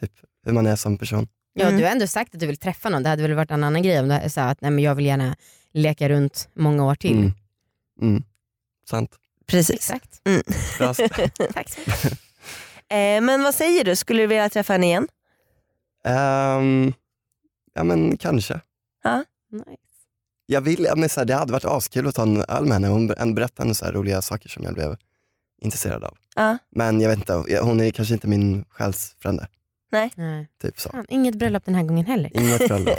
[SPEAKER 4] typ, hur man är som person.
[SPEAKER 2] Ja,
[SPEAKER 3] Mm.
[SPEAKER 2] du har ändå sagt att du vill träffa någon. Det hade väl varit en annan grej om du sa att nej, men jag vill gärna leka runt många år till.
[SPEAKER 4] Mm. Mm. Sant.
[SPEAKER 3] Precis.
[SPEAKER 2] Exakt.
[SPEAKER 3] (laughs)
[SPEAKER 4] Bra.
[SPEAKER 2] Tack så mycket.
[SPEAKER 3] Eh, men vad säger du, skulle du vilja träffa henne igen?
[SPEAKER 4] Ehm, ja men kanske.
[SPEAKER 2] Nice.
[SPEAKER 4] Jag vill, ja, men så här, det hade varit askul att ta en öl med henne. Hon ber- hon berättade en så här roliga saker som jag blev intresserad av.
[SPEAKER 3] Ja.
[SPEAKER 4] Men jag vet inte, jag- hon är kanske inte min själsfrände.
[SPEAKER 2] Nej.
[SPEAKER 4] Typ så.
[SPEAKER 2] Fan, inget bröllop den här gången heller.
[SPEAKER 3] (laughs)
[SPEAKER 4] Inget bröllop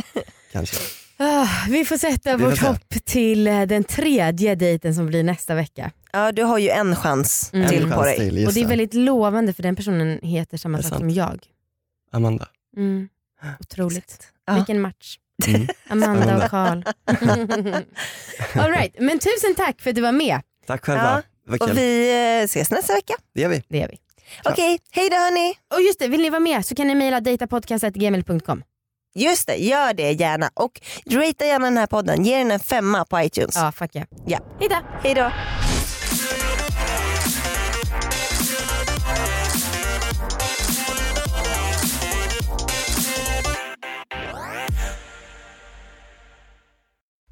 [SPEAKER 4] kanske.
[SPEAKER 2] Ah, vi får sätta
[SPEAKER 4] Vi får
[SPEAKER 2] vårt
[SPEAKER 4] se.
[SPEAKER 2] hopp till eh, den tredje dejten som blir nästa vecka.
[SPEAKER 3] Ja, du har ju en chans
[SPEAKER 2] Mm.
[SPEAKER 3] till
[SPEAKER 4] en
[SPEAKER 3] på
[SPEAKER 4] chans
[SPEAKER 3] dig.
[SPEAKER 4] till. Just
[SPEAKER 2] Och det är väldigt lovande för den personen heter samma
[SPEAKER 4] Det är
[SPEAKER 2] sak
[SPEAKER 4] sant.
[SPEAKER 2] som jag.
[SPEAKER 4] Amanda. (gasps)
[SPEAKER 2] Mm. Otroligt.
[SPEAKER 3] Ja.
[SPEAKER 2] Vilken match.
[SPEAKER 4] Mm.
[SPEAKER 2] Amanda och Karl. (laughs) All right. Men tusen tack för att du var med.
[SPEAKER 4] Tack själva.
[SPEAKER 3] Ja,
[SPEAKER 4] Det var kul.
[SPEAKER 3] Och vi eh, ses nästa vecka.
[SPEAKER 4] Det gör vi.
[SPEAKER 2] Det gör vi.
[SPEAKER 4] Ja.
[SPEAKER 3] Okej, hej då hörni.
[SPEAKER 2] Och just det, vill ni vara med så kan ni mejla datapodcast.gmail.com.
[SPEAKER 3] Just det, gör det gärna. Och ratea gärna den här podden. Ge den en femma på iTunes.
[SPEAKER 2] Ja, fuck yeah.
[SPEAKER 3] Ja.
[SPEAKER 2] Hej då.
[SPEAKER 3] Hej då.